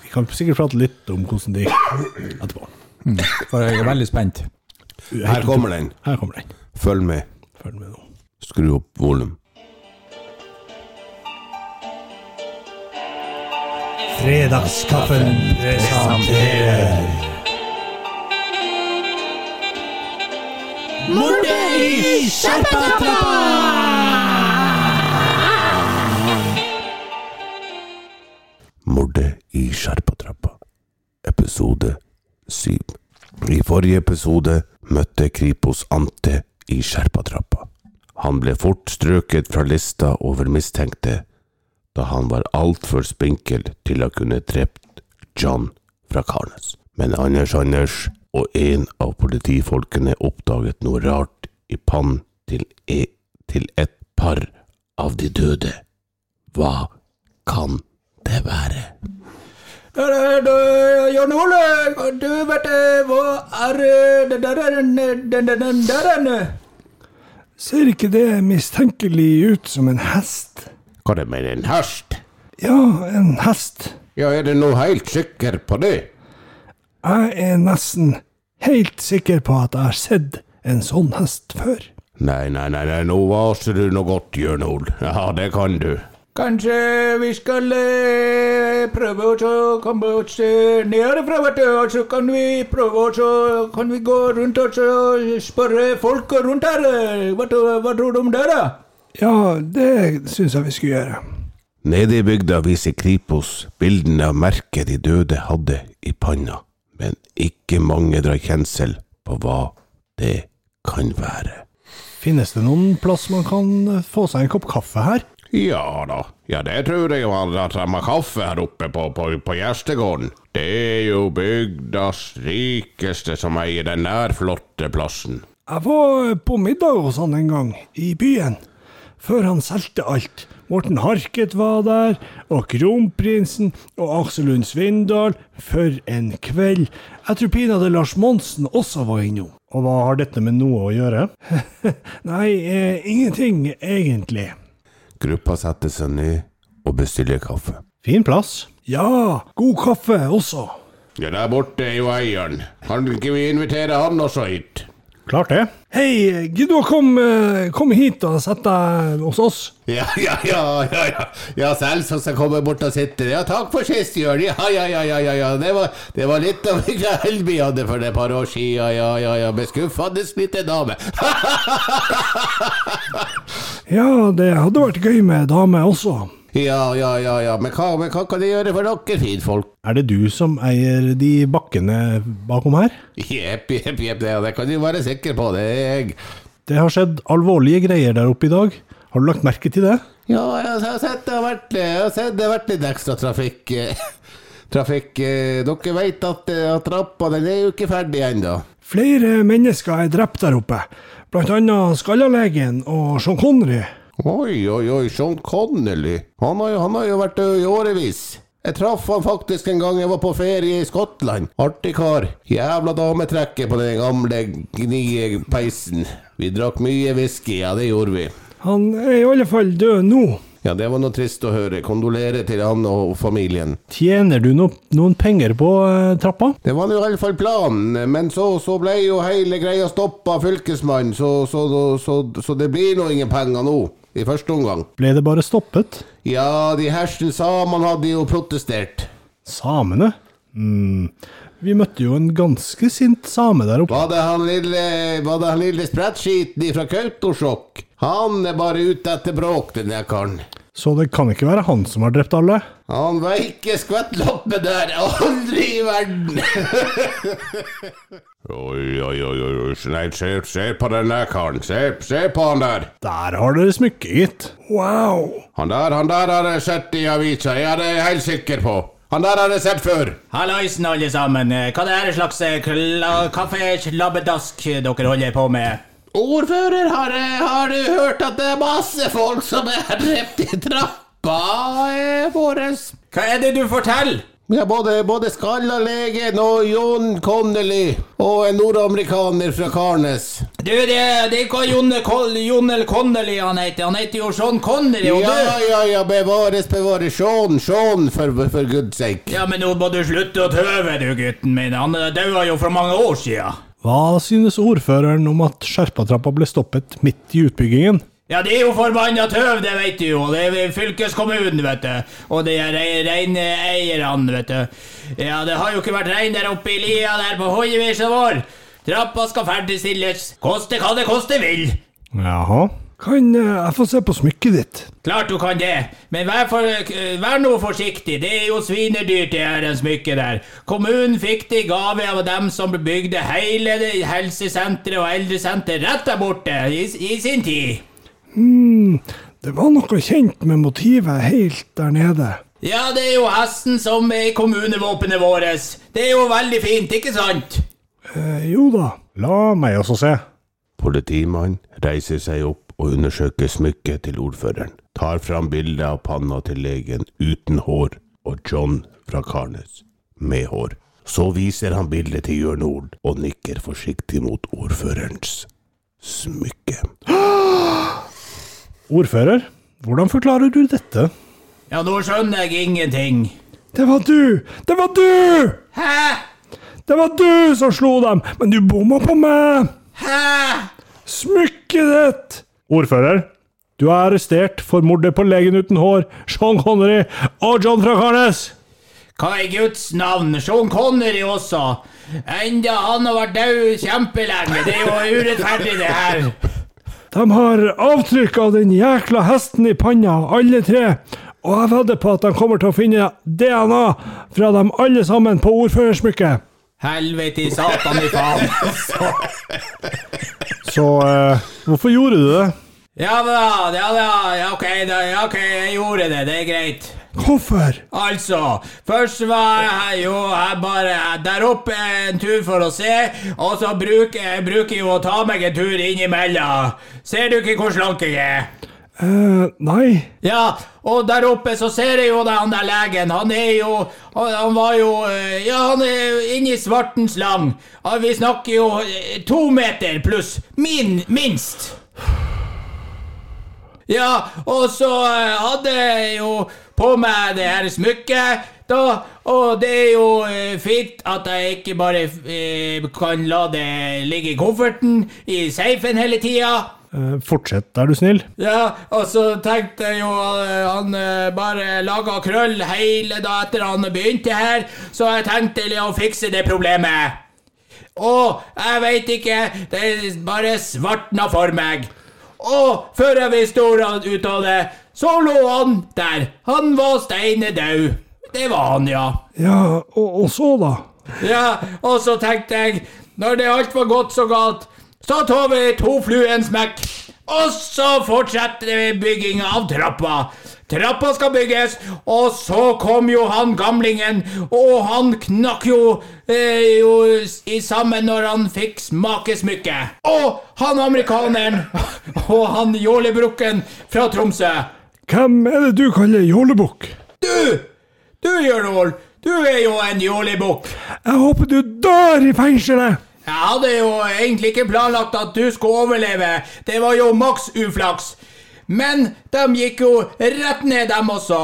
vi kan sikkert prate litt om hvordan det gikk etterpå. For jeg er veldig spent. Her kommer den. Her kommer den. Følg med. Følg med nå. Skru opp volum. Fredagskaffen presenterer Mordet i Skjerpatrappa, episode 7. I forrige episode møtte Kripos Ante i Skjerpatrappa. Han ble fort strøket fra lista over mistenkte, da han var altfor spinkel til å kunne drept John fra Karnes. Men Anders Anders og en av politifolkene oppdaget noe rart i pannen til, e til et par av de døde. Hva kan det være? Eh, Jan Ole, du vet eh, hva er eh, det der Den der eh, Ser ikke det mistenkelig ut som en hest? Hva det med en hest? Ja, en hest. Ja, er du nå helt sikker på det? Jeg er nesten helt sikker på at jeg har sett en sånn hest før. Nei, nei, nei, nei, nå vaser du noe godt, Jørn Ol. Ja, det kan du. Kanskje vi skal eh, prøve å så komme oss eh, ned herfra, vet du. Og så kan vi prøve å så kan vi gå rundt og så spørre folk rundt her. eh, Hva, tro- hva tror du om det, da? Ja, det syns jeg vi skulle gjøre. Nede i bygda viser Kripos bildene av merket de døde hadde i panna, men ikke mange drar kjensel på hva det kan være. Finnes det noen plass man kan få seg en kopp kaffe her? Ja da, ja det tror jeg jo at de har kaffe her oppe på, på, på gjestegården. Det er jo bygdas rikeste som eier den der flotte plassen. Jeg var eh, på middag hos han en gang, i byen. Før han solgte alt. Morten Harket var der, og kronprinsen, og Aksel Lund Svindal. For en kveld. Jeg tror pinadø Lars Monsen også var innom. Og hva har dette med noe å gjøre? Nei, eh, ingenting, egentlig. Gruppa setter seg ned og bestiller kaffe. Fin plass. Ja, god kaffe også. Ja, der borte er jo eieren. Kan ikke vi invitere han også hit? Klart det. Hei, gidder du å komme kom hit og sette deg hos oss? Ja, ja, ja, ja, ja. ja selv som skal komme bort og sitte. Ja, takk for sist, Jørn. Ja, ja, ja, ja, ja, ja. Det, var, det var litt av en kveld vi hadde for et par år siden. Ja, ja, ja. Med skuffende lite dame. Ja, det hadde vært gøy med dame også. Ja, ja, ja, ja. Men hva, men hva kan jeg gjøre for dere, finfolk? Er det du som eier de bakkene bakom her? Jepp, jepp, jepp. Det, det kan du være sikker på. Det er jeg. Det har skjedd alvorlige greier der oppe i dag. Har du lagt merke til det? Ja, jeg har sett det har vært, jeg har sett det har vært litt ekstra trafikk. eh, Trafikk eh, Dere vet at, eh, at trappa den er jo ikke ferdig ennå. Flere mennesker er drept der oppe, blant annet Skallalegen og Sean Connery. Oi, oi, oi, Sean Connolly. Han har, jo, han har jo vært død i årevis. Jeg traff han faktisk en gang jeg var på ferie i Skottland. Artig kar. Jævla dametrekker på den gamle gnie peisen. Vi drakk mye whisky, ja, det gjorde vi. Han er i alle fall død nå. Ja, det var noe trist å høre. Kondolerer til han og familien. Tjener du no noen penger på eh, trappa? Det var nå i alle fall planen, men så, så ble jo hele greia stoppa av fylkesmannen, så, så, så, så, så det blir nå ingen penger nå, i første omgang. Ble det bare stoppet? Ja, de hersens samene hadde jo protestert. Samene? Mm. Vi møtte jo en ganske sint same der oppe. Var det han lille, var det han lille sprettskiten ifra Kautokeino? Han er bare ute etter bråk, den der karen. Så det kan ikke være han som har drept alle? Han veike skvettlappe der, aldri i verden! oi, oi, oi, oi, oi, nei, se, se på den der karen, se, se på han der! Der har dere smykket, gitt. Wow. Han der, han der har jeg sett i avisa, jeg er jeg helt sikker på. Han der har jeg sett før. Hallaisen, alle sammen. Eh, Hva det er slags eh, kla- kaffe-slabbedask eh, dere holder på med? Ordfører, har, eh, har du hørt at det er masse folk som er drept i trappa eh, vår? Hva er det du forteller? Ja, både, både Skallalegen og John Connolly og en nordamerikaner fra Karnes. Du, det, det er ikke Jon Col- Jonel Connolly han heter. Han heter jo Sean Connery. Og Ja, du ja, ja, bevares, bevares. Sean, Sean, for, for guds sake. Ja, men nå må du slutte å tøve, du, gutten min. Han eh, daua jo for mange år sia. Hva synes ordføreren om at Skjerpatrappa ble stoppet midt i utbyggingen? Ja, det er jo forbanna tøv, det vet du jo. Det er fylkeskommunen, vet du. Og de er rei- reineierne, vet du. Ja, det har jo ikke vært rein der oppe i lia der på Hoievisa vår. Trappa skal ferdigstilles. Koste hva det koste vil. Jaha. Kan eh, jeg få se på smykket ditt? Klart du kan det, men vær, for, eh, vær nå forsiktig, det er jo svinedyrt det her en smykke der. Kommunen fikk det i gave av dem som bygde hele det helsesenteret og eldresenteret rett der borte i, i sin tid. Hmm, Det var noe kjent med motivet helt der nede. Ja, det er jo hesten som er i kommunevåpenet våres. Det er jo veldig fint, ikke sant? Eh, jo da. La meg også se. Politimannen reiser seg opp og undersøker smykket til ordføreren. Tar fram bildet av panna til legen uten hår og John fra Karnes med hår. Så viser han bildet til Jørn Ord og nikker forsiktig mot ordførerens smykke. Ordfører, hvordan forklarer du dette? Ja, nå skjønner jeg ingenting. Det var du! Det var du! Hæ? Det var du som slo dem, men du bomma på meg! Hæ? Smykket ditt! Ordfører, du er arrestert for mordet på legen uten hår, Sean Connery og John fra Karnes! Hva i Guds navn? Sean Connery også. Enda han har vært død kjempelenge. Det er jo urettferdig, det her. De har avtrykk av den jækla hesten i panna, alle tre. Og jeg vedder på at de kommer til å finne DNA fra dem alle sammen på ordførersmykket. Helvete i satan i faen. altså. Så eh, hvorfor gjorde du det? Ja da, ja da, ja ok, da, ja, ok, jeg gjorde det, det er greit. Hvorfor? Altså, først var jeg jo jeg bare der oppe en tur for å se, og så bruker jeg bruker jo å ta meg en tur innimellom. Ser du ikke hvor slank jeg er? Eh, nei. Ja, og der oppe så ser jeg jo det, han der legen. Han er jo Han han var jo eh, Ja, han er inne i svartens lang. Ja, Vi snakker jo eh, to meter pluss. Min, minst. Ja, og så eh, hadde jeg jo på meg det her smykket, da, og det er jo eh, fint at jeg ikke bare eh, kan la det ligge i kofferten, i safen hele tida. Eh, Fortsett, er du snill. Ja, og så tenkte jeg jo eh, Han eh, bare laga krøll hele da etter han begynte her, så jeg tenkte litt å fikse det problemet. Og jeg veit ikke, det bare svartna for meg. Og før jeg visste ordet ut av det, så lå han der. Han var steine død. Det var han, ja. Ja, og, og så, da? Ja, og så tenkte jeg, når det alt var gått så galt, så tar vi to fluer i en smekk. Og så fortsetter vi bygginga av trappa. Trappa skal bygges, og så kom jo han gamlingen, og han knakk jo, eh, jo i sammen når han fikk smake smykket. Og han amerikaneren og han jålebrukken fra Tromsø. Hvem er det du kaller jålebukk? Du! Du, Jørnvold, du er jo en jålebukk. Jeg håper du dør i fengselet! Jeg hadde jo egentlig ikke planlagt at du skulle overleve. Det var jo maks uflaks. Men de gikk jo rett ned, dem også.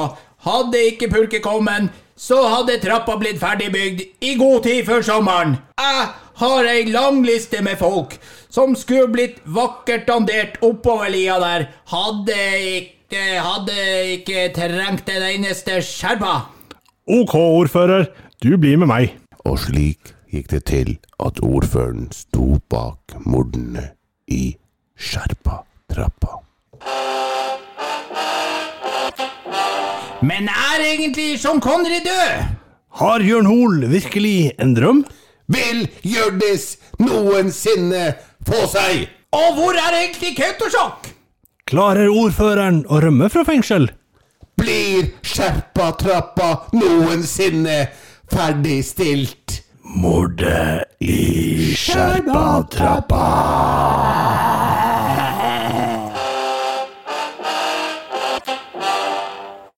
Hadde ikke pulket kommet, så hadde trappa blitt ferdigbygd i god tid før sommeren. Jeg har ei lang liste med folk som skulle blitt vakkert dandert oppover lia der. Hadde ikke, hadde ikke trengt en eneste skjerpa. Ok, ordfører, du blir med meg. Og slik gikk det til at ordføreren sto bak mordene i Skjerpa-trappa. Men er egentlig som Konrad død? Har Jørn Hoel virkelig en drøm? Vil Hjørdis noensinne få seg? Og hvor er egentlig Kautokeino? Klarer ordføreren å rømme fra fengsel? Blir Skjerpa-trappa noensinne ferdigstilt? Mordet i Skjerpa-trappa!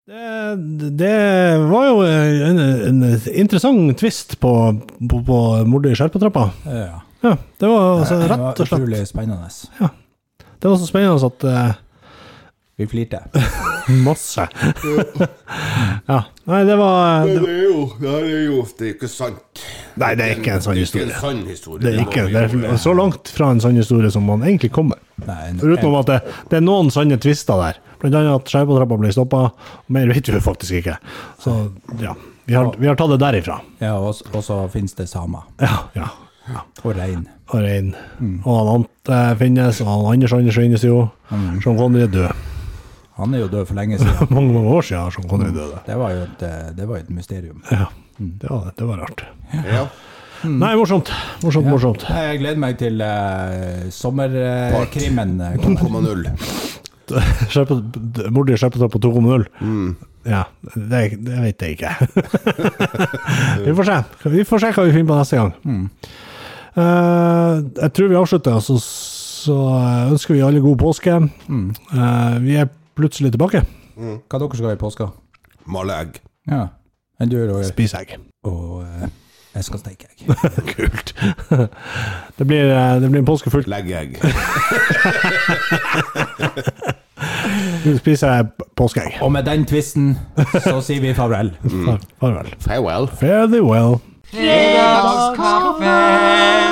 Det, det var jo en, en interessant twist på, på, på mordet i Skjerpatrappa. Ja. Ja, det var altså Det var rett og slett Utrolig spennende. Det var så spennende at eh, Vi flirte. Masse. ja. Nei, det var Det er jo Det er jo Det er ikke sant. Nei, det er ikke en sånn Det er historie. en sann historie. Det er ikke det er det. så langt fra en sann historie som man egentlig kommer. Nei, Utenom at det, det er noen sanne tvister der. Blant annet at Skjerpatrappa blir stoppa. Mer vet vi faktisk ikke. Så ja, vi har, vi har tatt det derifra. Ja, og, s- og så finnes det samer. Ja, ja. ja. Og Mm. rein. Og rein. Og han Ant eh, finnes, og han Anders Anders finnes jo. Sean Connery er død. Mm. Han er jo død for lenge siden. Mange mange år siden Sean Connery døde. Det var jo et, eh, det var jo et mysterium. Ja, Mm. det var, det var rart. Ja. Nei, morsomt. Morsomt, morsomt. Jeg gleder meg til eh, sommerkrimmen. Uh, 2,0. Skjerpet- Mordet i Skjerpetrappa 2.0. Ja, det, det vet jeg ikke. vi, får se. vi får se hva vi finner på neste gang. Mm. Eh, jeg tror vi avslutter, og så, så ønsker vi alle god påske. Mm. Eh, vi er plutselig tilbake. Hva dere skal i påska? Male egg. Ja. Enn du, Roger? Spis egg. Og eh, jeg skal steike egg. Kult. det, blir, eh, det blir en påske fullt. Legg egg. Vi spiser påskeegg. Og med den tvisten så sier vi farvel. Farvel. Farewell. Fare thee well. Fredagskaffe!